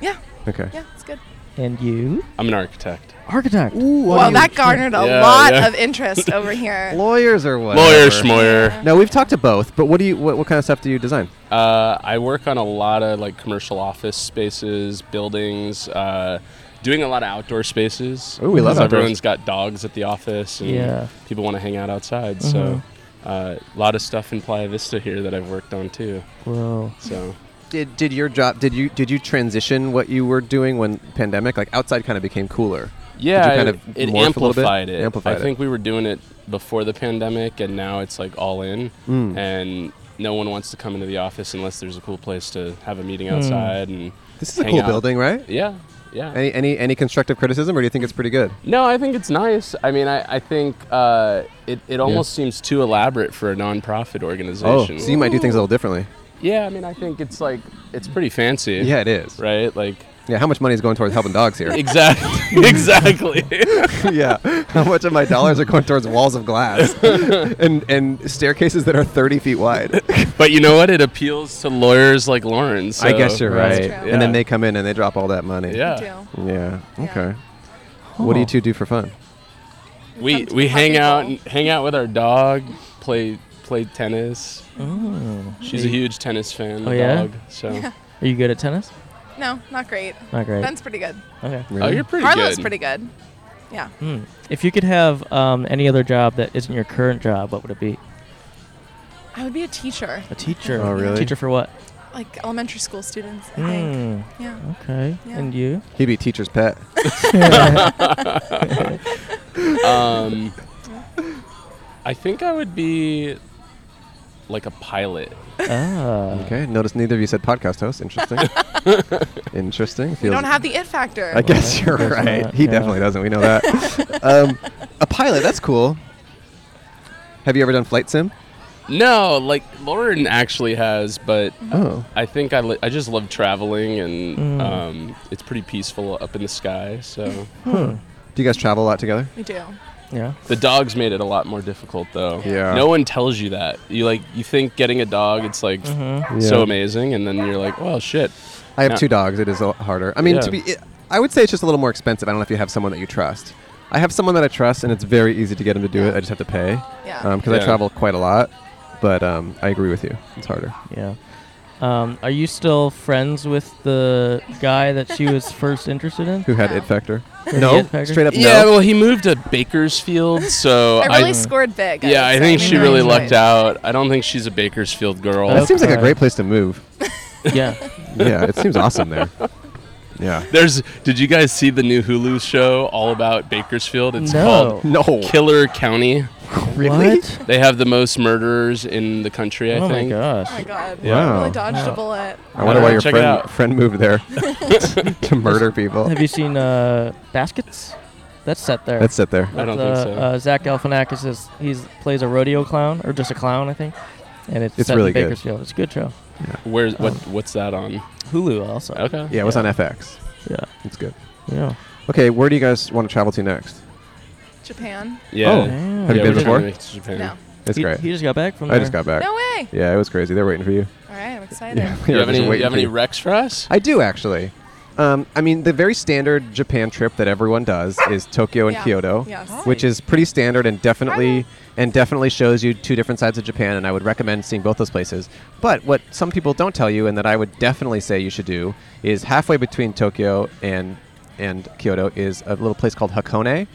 Speaker 5: Yeah.
Speaker 2: Okay.
Speaker 5: Yeah, it's good.
Speaker 4: and you?
Speaker 9: I'm an architect.
Speaker 4: Architect.
Speaker 5: well, that garnered a
Speaker 9: Yeah,
Speaker 5: lot
Speaker 9: yeah.
Speaker 5: of interest over here.
Speaker 2: Lawyers or what?
Speaker 9: Lawyer schmoyer.
Speaker 2: No, we've talked to both, but what do you what, what kind of stuff do you design?
Speaker 9: Uh, I work on a lot of like commercial office spaces, buildings, uh, doing a lot of outdoor spaces.
Speaker 2: Ooh, we love
Speaker 9: 'cause
Speaker 2: outdoors.
Speaker 9: Everyone's got dogs at the office, and
Speaker 4: Yeah.
Speaker 9: people want to hang out outside. So uh, a lot of stuff in Playa Vista here that I've worked on too.
Speaker 4: Whoa.
Speaker 9: So
Speaker 2: Did did your job did you did you transition what you were doing when pandemic like outside kind of became cooler?
Speaker 9: Yeah,
Speaker 2: kind
Speaker 9: it-
Speaker 2: of
Speaker 9: it,
Speaker 2: morph a little bit?
Speaker 9: amplified it.
Speaker 2: Amplified
Speaker 9: I
Speaker 2: it.
Speaker 9: think we were doing it before the pandemic, and now it's like all in,
Speaker 2: Mm.
Speaker 9: and no one wants to come into the office unless there's a cool place to have a meeting outside. And
Speaker 2: This is a
Speaker 9: Hang
Speaker 2: cool
Speaker 9: out.
Speaker 2: building, right?
Speaker 9: yeah, yeah.
Speaker 2: Any any any constructive criticism, or do you think it's pretty good?
Speaker 9: no, I think it's nice. I mean, I, I think uh, it, it almost seems too elaborate for a nonprofit
Speaker 2: Oh,
Speaker 9: organization.
Speaker 2: so you might do things a little differently.
Speaker 9: yeah, I mean, I think it's like it's pretty fancy.
Speaker 2: Yeah, it is.
Speaker 9: right. Like
Speaker 2: Yeah, how much money is going towards helping dogs here?
Speaker 9: exactly, exactly.
Speaker 2: yeah, how much of my dollars are going towards walls of glass and and staircases that are thirty feet wide?
Speaker 9: but you know what? It appeals to lawyers like Lauren.
Speaker 2: I guess
Speaker 9: so-
Speaker 2: you're
Speaker 5: That's
Speaker 2: right.
Speaker 5: true.
Speaker 2: And then
Speaker 9: Yeah.
Speaker 2: they come in and they drop all that money.
Speaker 5: I
Speaker 9: Yeah.
Speaker 5: do.
Speaker 2: Yeah.
Speaker 5: Yeah.
Speaker 2: Okay. What do you two do for fun?
Speaker 9: we
Speaker 5: Come to
Speaker 9: we
Speaker 5: the
Speaker 9: hang
Speaker 5: puppy
Speaker 9: out
Speaker 5: bowl.
Speaker 9: and hang out with our dog play play tennis
Speaker 2: Oh.
Speaker 9: she's a huge tennis fan
Speaker 4: Oh,
Speaker 9: the
Speaker 4: yeah?
Speaker 9: dog so
Speaker 4: Are you good at tennis?
Speaker 5: No, not great.
Speaker 4: Not great.
Speaker 5: Ben's pretty good.
Speaker 4: Okay.
Speaker 9: oh you're pretty
Speaker 5: Harlow's
Speaker 9: good
Speaker 5: pretty good. Yeah.
Speaker 4: Hmm. If you could have um, any other job that isn't your current job, what would it be?
Speaker 5: I would be a teacher,
Speaker 4: A teacher.
Speaker 2: Oh, really?
Speaker 4: Teacher for what?
Speaker 5: like elementary school students, I think.
Speaker 4: Hmm.
Speaker 5: Yeah.
Speaker 4: Okay.
Speaker 5: Yeah.
Speaker 4: And you?
Speaker 2: He'd be teacher's pet.
Speaker 9: um i think i would be like a pilot
Speaker 4: Ah.
Speaker 2: Okay. Notice neither of you said podcast host. Interesting. Interesting.
Speaker 5: We
Speaker 2: Feels-
Speaker 5: don't have the it factor.
Speaker 2: I guess you're
Speaker 4: Does
Speaker 2: right.
Speaker 4: not,
Speaker 2: he
Speaker 4: yeah.
Speaker 2: definitely doesn't. We know that. um, a pilot. That's cool. Have you ever done flight sim?
Speaker 9: no like lauren actually has but
Speaker 2: Oh.
Speaker 9: i think i, li- I just love traveling and
Speaker 4: Mm.
Speaker 9: um, it's pretty peaceful up in the sky so
Speaker 2: Do you guys travel a lot together?
Speaker 5: We do.
Speaker 4: Yeah.
Speaker 9: The dogs made it a lot more difficult though.
Speaker 2: Yeah.
Speaker 9: No one tells you that. You like you think getting a dog it's like
Speaker 4: Mm-hmm.
Speaker 9: so amazing and then you're like, "Well, shit."
Speaker 2: I have
Speaker 9: Yeah.
Speaker 2: two dogs. It is a lot harder. I mean, to be,
Speaker 9: Yeah.
Speaker 2: it, I would say it's just a little more expensive. I don't know if you have someone that you trust. I have someone that I trust, and it's very easy to get him to do it. I just have to pay
Speaker 10: Yeah.
Speaker 2: because I
Speaker 9: Yeah.
Speaker 2: travel quite a lot. But um, I agree with you. It's harder.
Speaker 4: Yeah. Um, are you still friends with the guy that she was first interested in?
Speaker 2: Who had it factor?
Speaker 4: The
Speaker 2: No,
Speaker 4: It Factor?
Speaker 2: straight up
Speaker 9: Yeah,
Speaker 2: no.
Speaker 9: well, he moved to Bakersfield, so
Speaker 10: I really
Speaker 9: I
Speaker 10: scored big.
Speaker 9: Yeah, I
Speaker 10: would
Speaker 9: think
Speaker 10: say.
Speaker 9: she
Speaker 10: Maybe
Speaker 9: really
Speaker 10: nine
Speaker 9: lucked
Speaker 10: points.
Speaker 9: out. I don't think she's a Bakersfield girl.
Speaker 2: That seems like a
Speaker 4: Okay.
Speaker 2: great place to move.
Speaker 4: Yeah.
Speaker 2: yeah, it seems awesome there. Yeah.
Speaker 9: There's Did you guys see the new Hulu show all about Bakersfield? It's
Speaker 4: no.
Speaker 2: No.
Speaker 9: called Killer County.
Speaker 2: Really?
Speaker 4: What?
Speaker 9: They have the most murderers in the country, I
Speaker 4: oh my
Speaker 9: think.
Speaker 4: gosh.
Speaker 10: Oh my god.
Speaker 2: Yeah.
Speaker 10: Really dodged a bullet.
Speaker 2: I wonder why your
Speaker 9: Check it
Speaker 2: friend
Speaker 9: out.
Speaker 2: friend moved there to murder people.
Speaker 4: Have you seen uh, Baskets? That's set there.
Speaker 2: Let's sit there.
Speaker 9: I don't
Speaker 4: With, uh,
Speaker 9: think so.
Speaker 4: Uh, Zach Galifianakis is he's plays a rodeo clown or just a clown, I think. And it's,
Speaker 2: It's
Speaker 4: set
Speaker 2: really
Speaker 4: in
Speaker 2: good.
Speaker 4: Bakersfield. It's a good show.
Speaker 9: Where's what?
Speaker 2: Oh.
Speaker 9: What's that on?
Speaker 4: Hulu also.
Speaker 9: Okay.
Speaker 2: Yeah, it was on FX.
Speaker 4: Yeah. Oh,
Speaker 2: It's good.
Speaker 4: Yeah.
Speaker 2: Okay, where do you guys want to travel to next?
Speaker 10: Japan.
Speaker 9: Yeah.
Speaker 2: Oh.
Speaker 9: Yeah,
Speaker 2: Have you
Speaker 9: we're
Speaker 2: been
Speaker 9: just
Speaker 2: before?
Speaker 9: gonna make it to Japan.
Speaker 10: No.
Speaker 2: It's
Speaker 4: he,
Speaker 2: great.
Speaker 4: He just got back from
Speaker 2: I just
Speaker 4: there.
Speaker 2: got back.
Speaker 10: No way.
Speaker 2: Yeah, it was crazy. They're waiting for you.
Speaker 10: All right, I'm excited.
Speaker 2: Yeah,
Speaker 9: Do you have
Speaker 2: just
Speaker 9: any? You
Speaker 2: waiting
Speaker 9: have
Speaker 2: for
Speaker 9: any
Speaker 2: you.
Speaker 9: recs for us?
Speaker 2: I do actually. Um, I mean, the very standard Japan trip that everyone does is Tokyo and
Speaker 10: Yeah.
Speaker 2: Kyoto,
Speaker 10: Yes.
Speaker 2: which is pretty standard and definitely and definitely shows you two different sides of Japan. And I would recommend seeing both those places. But what some people don't tell you, and that I would definitely say you should do, is halfway between Tokyo and and Kyoto is a little place called Hakone,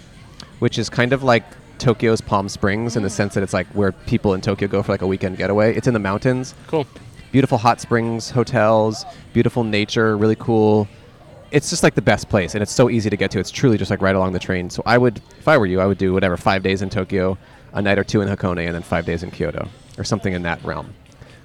Speaker 2: which is kind of like Tokyo's Palm Springs in the
Speaker 10: Mm.
Speaker 2: sense that it's like where people in Tokyo go for like a weekend getaway. It's in the mountains
Speaker 9: Cool.
Speaker 2: beautiful hot springs, hotels, beautiful nature, really cool. It's just like the best place, and it's so easy to get to. It's truly just like right along the train. So I would, if I were you, I would do whatever five days in Tokyo, a night or two in Hakone, and then five days in Kyoto, or something in that realm.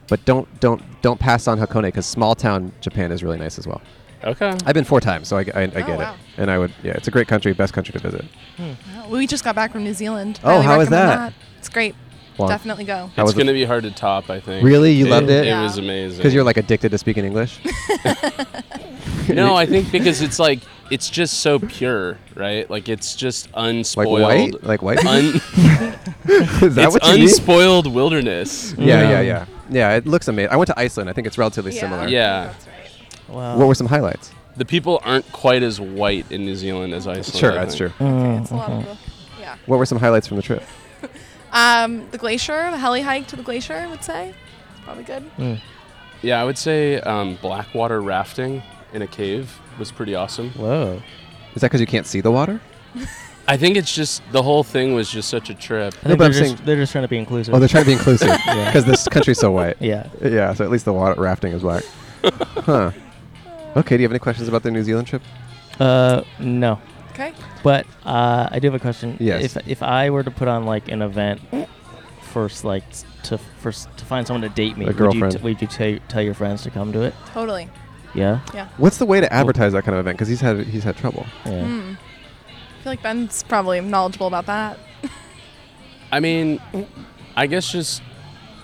Speaker 2: But don't don't don't pass on Hakone because small town Japan is really nice as well.
Speaker 9: Okay.
Speaker 2: I've been four times, so I, I, I get
Speaker 10: wow.
Speaker 2: it, and I would yeah, it's a great country, best country to visit.
Speaker 10: Wow. We just got back from New Zealand.
Speaker 2: Oh,
Speaker 10: Highly
Speaker 2: how was
Speaker 10: recommend
Speaker 2: that?
Speaker 10: It's great.
Speaker 2: Well,
Speaker 10: Definitely go.
Speaker 2: How was
Speaker 9: It's
Speaker 2: it?
Speaker 9: gonna be hard to top, I think.
Speaker 2: Really? You loved it?
Speaker 9: It
Speaker 10: Yeah.
Speaker 9: was amazing.
Speaker 2: because you're like addicted to speaking English.
Speaker 9: No, I think because it's like it's just so pure, right? Like it's just
Speaker 2: like
Speaker 9: unspoiled.
Speaker 2: white, like white.
Speaker 9: Un-
Speaker 2: is that
Speaker 9: it's
Speaker 2: what you mean? Mm.
Speaker 9: unspoiled wilderness.
Speaker 2: Yeah, yeah,
Speaker 4: Yeah.
Speaker 2: yeah. Yeah, it looks amazing. I went to Iceland. I think it's relatively
Speaker 10: Yeah.
Speaker 2: similar.
Speaker 9: Yeah.
Speaker 10: That's right.
Speaker 4: Wow.
Speaker 2: What were some highlights?
Speaker 9: The people aren't quite as white in New Zealand as Iceland.
Speaker 2: sure,
Speaker 9: I
Speaker 2: that's true.
Speaker 9: think.
Speaker 10: It's a lot
Speaker 9: Mm-hmm.
Speaker 10: of book. Yeah.
Speaker 2: What were some highlights from the trip?
Speaker 10: Um, the glacier, the heli hike to the glacier, I would say. Probably good.
Speaker 9: Yeah, I would say um, blackwater rafting in a cave was pretty awesome.
Speaker 4: Whoa.
Speaker 2: Is that because you can't see the water?
Speaker 9: I think it's just the whole thing was just such a trip.
Speaker 4: I think
Speaker 2: but
Speaker 4: they're,
Speaker 2: I'm
Speaker 4: just,
Speaker 2: saying-
Speaker 4: they're just trying to be inclusive.
Speaker 2: Oh, they're trying to be inclusive because this country's so white.
Speaker 4: yeah.
Speaker 2: Yeah, so at least the water rafting is black. huh. Okay, do you have any questions about the New Zealand trip?
Speaker 4: Uh, no.
Speaker 10: Okay.
Speaker 4: But uh, I do have a question.
Speaker 2: Yes.
Speaker 4: If if I were to put on like an event first, like s- to first to find someone to date me,
Speaker 2: A
Speaker 4: would you,
Speaker 2: girlfriend.
Speaker 4: t- would you tell- tell your friends to come to it?
Speaker 10: Totally.
Speaker 4: Yeah.
Speaker 2: What's the way to advertise that kind of event? Because he's had he's had trouble.
Speaker 4: Yeah.
Speaker 10: Mm. I feel like Ben's probably knowledgeable about that.
Speaker 9: I mean, I guess just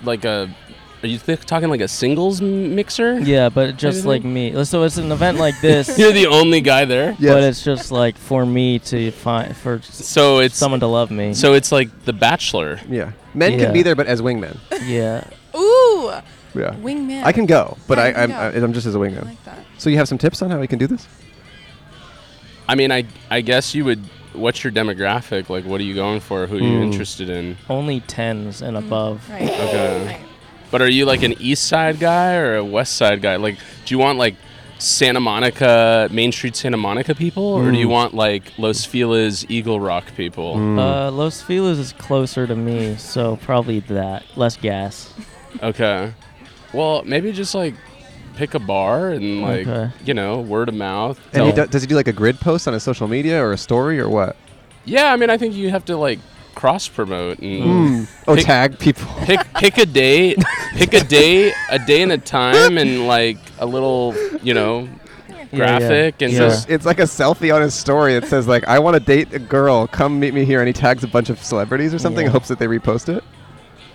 Speaker 9: like a. Are you th- talking like a singles m- mixer?
Speaker 4: Yeah, but just like me. So it's an event like this,
Speaker 9: You're the only guy there.
Speaker 4: but it's just like for me to find for s-
Speaker 9: So it's
Speaker 4: someone to love me.
Speaker 9: so it's like The Bachelor.
Speaker 2: yeah. Men
Speaker 4: Yeah.
Speaker 2: can be there, but as wingmen.
Speaker 4: yeah.
Speaker 10: Ooh,
Speaker 2: Yeah.
Speaker 10: wingman.
Speaker 2: I can go, but
Speaker 10: Yeah,
Speaker 2: I,
Speaker 10: you
Speaker 2: I'm,
Speaker 10: can
Speaker 2: I,
Speaker 10: go.
Speaker 2: I'm just as a
Speaker 10: I
Speaker 2: wingman.
Speaker 10: like that.
Speaker 2: So you have some tips on how we can do this?
Speaker 9: I mean, I I guess you would. What's your demographic? Like, what are you going for? Who are
Speaker 4: Hmm.
Speaker 9: you interested in? Uh,
Speaker 4: Only tens and above.
Speaker 10: Right.
Speaker 9: Okay.
Speaker 10: Right.
Speaker 9: But are you like an East Side guy or a West Side guy? Like, do you want like Santa Monica, Main Street Santa Monica people, or
Speaker 4: Mm.
Speaker 9: do you want like Los Feliz Eagle Rock people?
Speaker 2: Hmm.
Speaker 4: Uh, Los Feliz is closer to me, so probably that. Less gas.
Speaker 9: Okay. Well, maybe just like pick a bar and like
Speaker 4: Okay.
Speaker 9: you know word of mouth.
Speaker 2: And he
Speaker 9: Tell-
Speaker 2: do, does he do like a grid post on his social media or a story or what?
Speaker 9: yeah, I mean, I think you have to like cross promote and.
Speaker 4: Mm.
Speaker 2: Oh,
Speaker 9: Pick-
Speaker 2: tag people.
Speaker 9: pick pick a date, pick a date, a day and a time, and like a little, you know, graphic and
Speaker 4: Yeah.
Speaker 9: just
Speaker 2: It's like a selfie on his story that says like, "I want to date a girl. Come meet me here." And he tags a bunch of celebrities or something,
Speaker 4: Yeah.
Speaker 2: hopes that they repost it.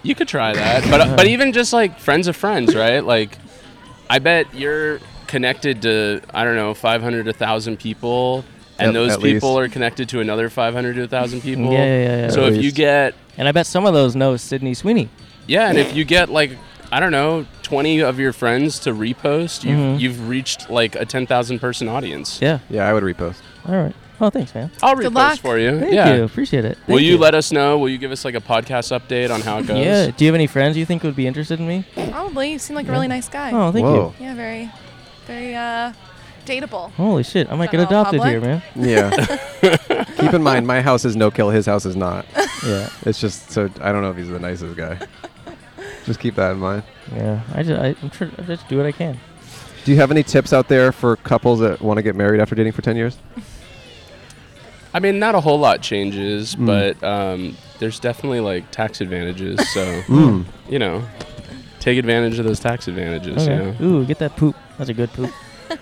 Speaker 9: you could try that. But but even just like friends of friends, right? Like, I bet you're connected to I don't know 500 to 1,000 people. and
Speaker 2: At-
Speaker 9: those
Speaker 2: at
Speaker 9: people
Speaker 2: least.
Speaker 9: are connected to another 500 to 1,000 people.
Speaker 4: Yeah, yeah, yeah, yeah.
Speaker 9: So
Speaker 2: At
Speaker 9: if you
Speaker 2: least.
Speaker 9: get
Speaker 4: And I bet some of those know Sydney Sweeney.
Speaker 9: yeah, and if you get like I don't know 20 of your friends to repost, you've
Speaker 4: Mhm.
Speaker 9: you've reached like a 10,000 person audience.
Speaker 4: Yeah.
Speaker 2: Yeah, I would repost.
Speaker 4: All right. Oh, thanks, man.
Speaker 9: I'll
Speaker 10: Good
Speaker 9: repost
Speaker 10: luck.
Speaker 9: for you.
Speaker 4: Thank
Speaker 9: yeah.
Speaker 4: you. Appreciate it.
Speaker 9: Will
Speaker 4: Thank
Speaker 9: you let us know? Will you give us like a podcast update on how it goes?
Speaker 4: Yeah. Do you have any friends you think would be interested in me?
Speaker 10: Probably. You seem like a really nice guy.
Speaker 4: Oh, thank
Speaker 2: Whoa.
Speaker 10: Yeah, very, very uh, dateable.
Speaker 4: you. Holy shit! I might get
Speaker 10: Is that all
Speaker 4: adopted here,
Speaker 10: public?
Speaker 4: man.
Speaker 2: Yeah. Keep in mind, my house is no kill. His house is not.
Speaker 4: Yeah.
Speaker 2: It's just so I don't know if he's the nicest guy. just keep that in mind.
Speaker 4: Yeah. I just, I, I'm tr- I just do what I can.
Speaker 2: Do you have any tips out there for couples that want to get married after dating for ten years?
Speaker 9: I mean, not a whole lot changes,
Speaker 2: Hmm.
Speaker 9: but um, there's definitely like tax advantages. So you know, take advantage of those tax advantages. You know.
Speaker 4: Okay. Ooh, get that poop. That's a good poop.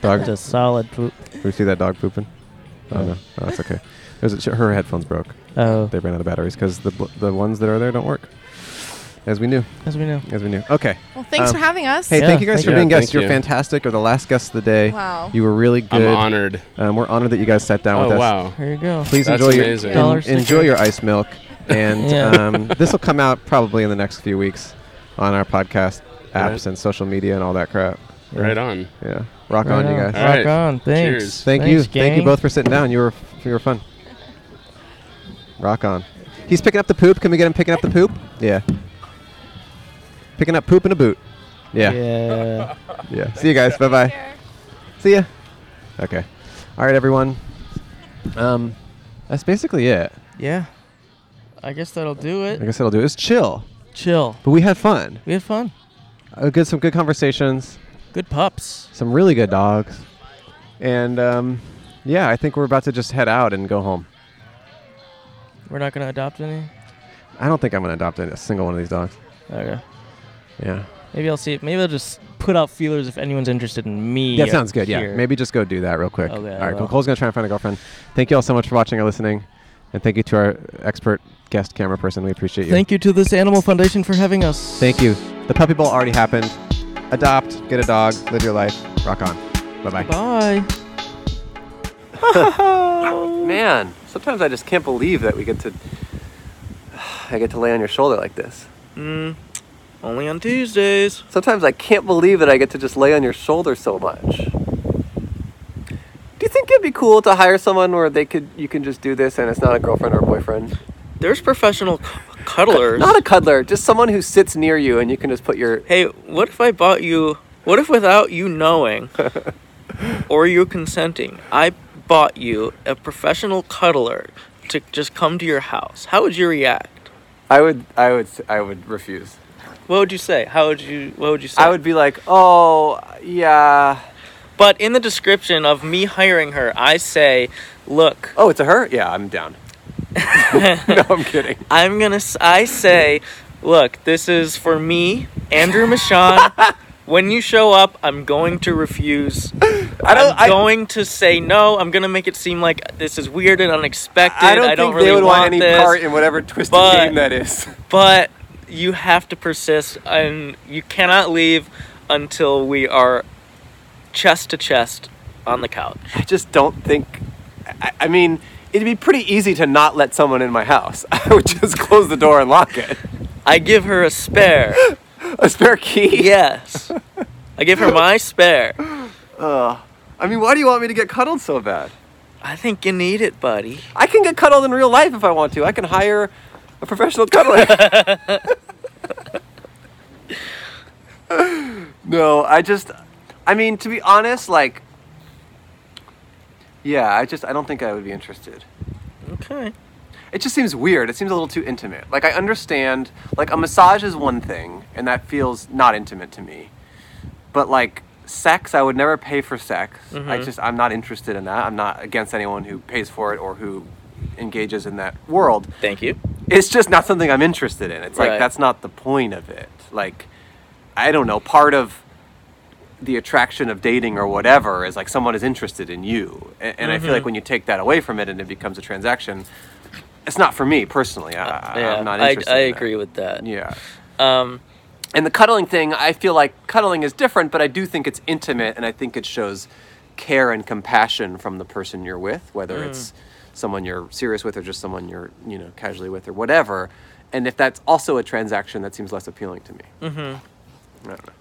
Speaker 2: Dog,
Speaker 4: That's a solid poop.
Speaker 2: we see that dog pooping. Oh no, oh, that's okay. There's a, her headphones broke.
Speaker 4: Oh,
Speaker 2: They ran out of batteries because the bl- the ones that are there don't work. As we knew,
Speaker 4: as we know.
Speaker 2: as we knew. Okay.
Speaker 10: Well, thanks
Speaker 2: Um,
Speaker 10: for having us.
Speaker 2: Hey,
Speaker 4: Yeah,
Speaker 2: thank you guys
Speaker 4: thank
Speaker 2: for
Speaker 9: you.
Speaker 2: being
Speaker 9: Yeah,
Speaker 2: guests.
Speaker 9: thank
Speaker 2: You're
Speaker 9: you.
Speaker 2: fantastic. You're the last guest of the day.
Speaker 10: Wow.
Speaker 2: You were really
Speaker 9: I'm
Speaker 2: good.
Speaker 9: honored.
Speaker 2: Um, we're honored that you guys sat down
Speaker 9: Oh
Speaker 2: with us.
Speaker 9: wow.
Speaker 4: Here you go.
Speaker 2: Please
Speaker 9: That's
Speaker 2: enjoy
Speaker 9: amazing.
Speaker 2: your
Speaker 4: Dollar
Speaker 2: en- enjoy
Speaker 4: sticker.
Speaker 2: your ice milk, and
Speaker 4: Yeah.
Speaker 2: um, this will come out probably in the next few weeks on our podcast apps
Speaker 9: Right.
Speaker 2: and social media and all that crap.
Speaker 9: Right on.
Speaker 2: Yeah, rock
Speaker 4: Right
Speaker 2: on, you guys.
Speaker 4: Rock
Speaker 9: Alright.
Speaker 4: on. Thanks.
Speaker 9: Cheers.
Speaker 2: Thank
Speaker 4: Thanks,
Speaker 2: you, thank you
Speaker 4: gang.
Speaker 2: both for sitting down. You were you were fun. Rock on. He's picking up the poop. Can we get him picking up the poop? Yeah. Picking up poop in a boot. Yeah. Yeah.
Speaker 4: Yeah.
Speaker 2: See you guys. Bye bye. See ya. Okay. All right, everyone. Um, that's basically it.
Speaker 4: yeah. I guess that'll do
Speaker 2: I
Speaker 4: it.
Speaker 2: guess that'll do. It was chill.
Speaker 4: Chill.
Speaker 2: But we had fun.
Speaker 4: We had fun.
Speaker 2: Uh, good, some good conversations,
Speaker 4: Good pups.
Speaker 2: some really good dogs, and um, yeah, I think we're about to just head out and go home.
Speaker 4: We're not gonna adopt any.
Speaker 2: I don't think I'm gonna adopt a single one of these dogs.
Speaker 4: Okay.
Speaker 2: Yeah,
Speaker 4: Maybe I'll see. Maybe I'll just put out feelers if anyone's interested in me.
Speaker 2: that sounds good.
Speaker 4: here.
Speaker 2: Yeah, maybe just go do that real quick.
Speaker 4: Okay, I
Speaker 2: all right,
Speaker 4: will.
Speaker 2: Cole's gonna try and find a girlfriend. Thank you all so much for watching or listening, and thank you to our expert guest camera person. We appreciate you.
Speaker 4: Thank you to this Animal Foundation for having us.
Speaker 2: Thank you. The puppy bowl already happened. Adopt, get a dog, live your life, rock on. Bye bye.
Speaker 4: Bye.
Speaker 8: Man, sometimes I just can't believe that we get to. I get to lay on your shoulder like this.
Speaker 1: Mm, only on Tuesdays.
Speaker 8: Sometimes I can't believe that I get to just lay on your shoulder so much. Do you think it'd be cool to hire someone where they could you can just do this and it's not a girlfriend or a boyfriend?
Speaker 1: There's professional c- cuddlers.
Speaker 8: Not a cuddler, just someone who sits near you and you can just put your
Speaker 1: hey, what if I bought you? What if without you knowing or you consenting, I bought you a professional cuddler to just come to your house? How would you react?
Speaker 8: I would I would I would refuse.
Speaker 1: What would you say? How would you? What would you say?
Speaker 8: I would be like, "Oh, yeah.
Speaker 1: But in the description of me hiring her, I say, look,
Speaker 8: Oh, it's a her? Yeah, I'm down." no, I'm kidding.
Speaker 1: I'm gonna. s- I say, look, this is for me, Andrew Michon. when you show up, I'm going to refuse.
Speaker 8: I don't
Speaker 1: I'm
Speaker 8: I,
Speaker 1: going to say no. I'm gonna make it seem like this is weird and unexpected.
Speaker 8: I don't think
Speaker 1: really
Speaker 8: they would
Speaker 1: want,
Speaker 8: want, any
Speaker 1: this,
Speaker 8: part in whatever twisted
Speaker 1: but-
Speaker 8: game that is.
Speaker 1: But you have to persist, and you cannot leave until we are chest to chest on the couch.
Speaker 8: I just don't think. I, I mean, it'd be pretty easy to not let someone in my house. I would just close the door and lock it.
Speaker 1: I give her a spare.
Speaker 8: A spare key.
Speaker 1: yes. I give her my spare.
Speaker 8: I mean, why do you want me to get cuddled so bad?
Speaker 1: I think you need it, buddy.
Speaker 8: I can get cuddled in real life if I want to. I can hire a professional cuddler. no, I just. I mean, to be honest, like. Yeah, I just. I don't think I would be interested.
Speaker 1: Okay.
Speaker 8: it just seems weird. It seems a little too intimate. Like I understand, like a massage is one thing, and that feels not intimate to me. But like sex, I would never pay for sex. I just I'm not interested in that. I'm not against anyone who pays for it or who engages in that world.
Speaker 1: Thank you.
Speaker 8: It's just not something I'm interested in. It's like
Speaker 1: Right.
Speaker 8: that's not the point of it. Like I don't know, part of the attraction of dating or whatever is like someone is interested in you. And, and I feel like when you take that away from it and it becomes a transaction, it's not for me personally. I, I- I'm not
Speaker 1: I,
Speaker 8: interested.
Speaker 1: I
Speaker 8: in that.
Speaker 1: agree with that.
Speaker 8: Yeah.
Speaker 1: Um,
Speaker 8: And the cuddling thing, I feel like cuddling is different, but I do think it's intimate and I think it shows
Speaker 2: care and compassion from the person you're with, whether it's someone you're serious with or just someone you're you know casually with or whatever. And if that's also a transaction, that seems less appealing to me. Mm-hmm. I don't know.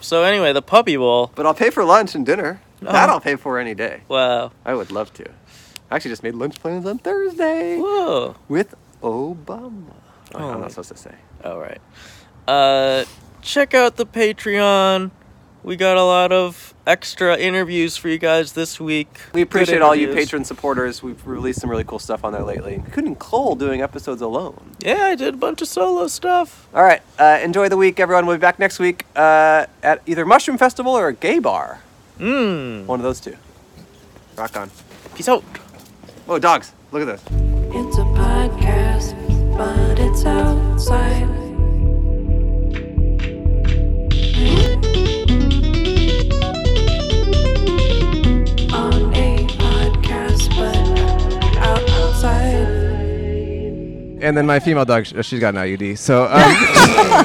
Speaker 1: So anyway, the Puppy Bowl.
Speaker 2: But I'll pay for lunch and dinner. That I'll pay for any day.
Speaker 1: Wow.
Speaker 2: I would love to. I actually just made lunch plans on Thursday
Speaker 1: Whoa.
Speaker 2: with Obama. Wait, I'm
Speaker 1: Oh.
Speaker 2: not supposed to say.
Speaker 1: All right. Uh, check out the Patreon. We got a lot of extra interviews for you guys this week.
Speaker 2: We
Speaker 1: Good
Speaker 2: appreciate all you
Speaker 1: interviews.
Speaker 2: patron supporters. We've released some really cool stuff on there lately, including Cole doing episodes alone.
Speaker 1: Yeah, I did a bunch of solo stuff.
Speaker 2: All right, uh, enjoy the week, everyone. We'll be back next week uh, at either Mushroom Festival or a gay bar.
Speaker 1: Mmm.
Speaker 2: One of those two. Rock on.
Speaker 1: Peace out.
Speaker 2: Oh, dogs! Look at this.
Speaker 3: It's a podcast, but it's outside. On a podcast, but outside.
Speaker 11: And then my female dog, sh- she's got an IUD. So um,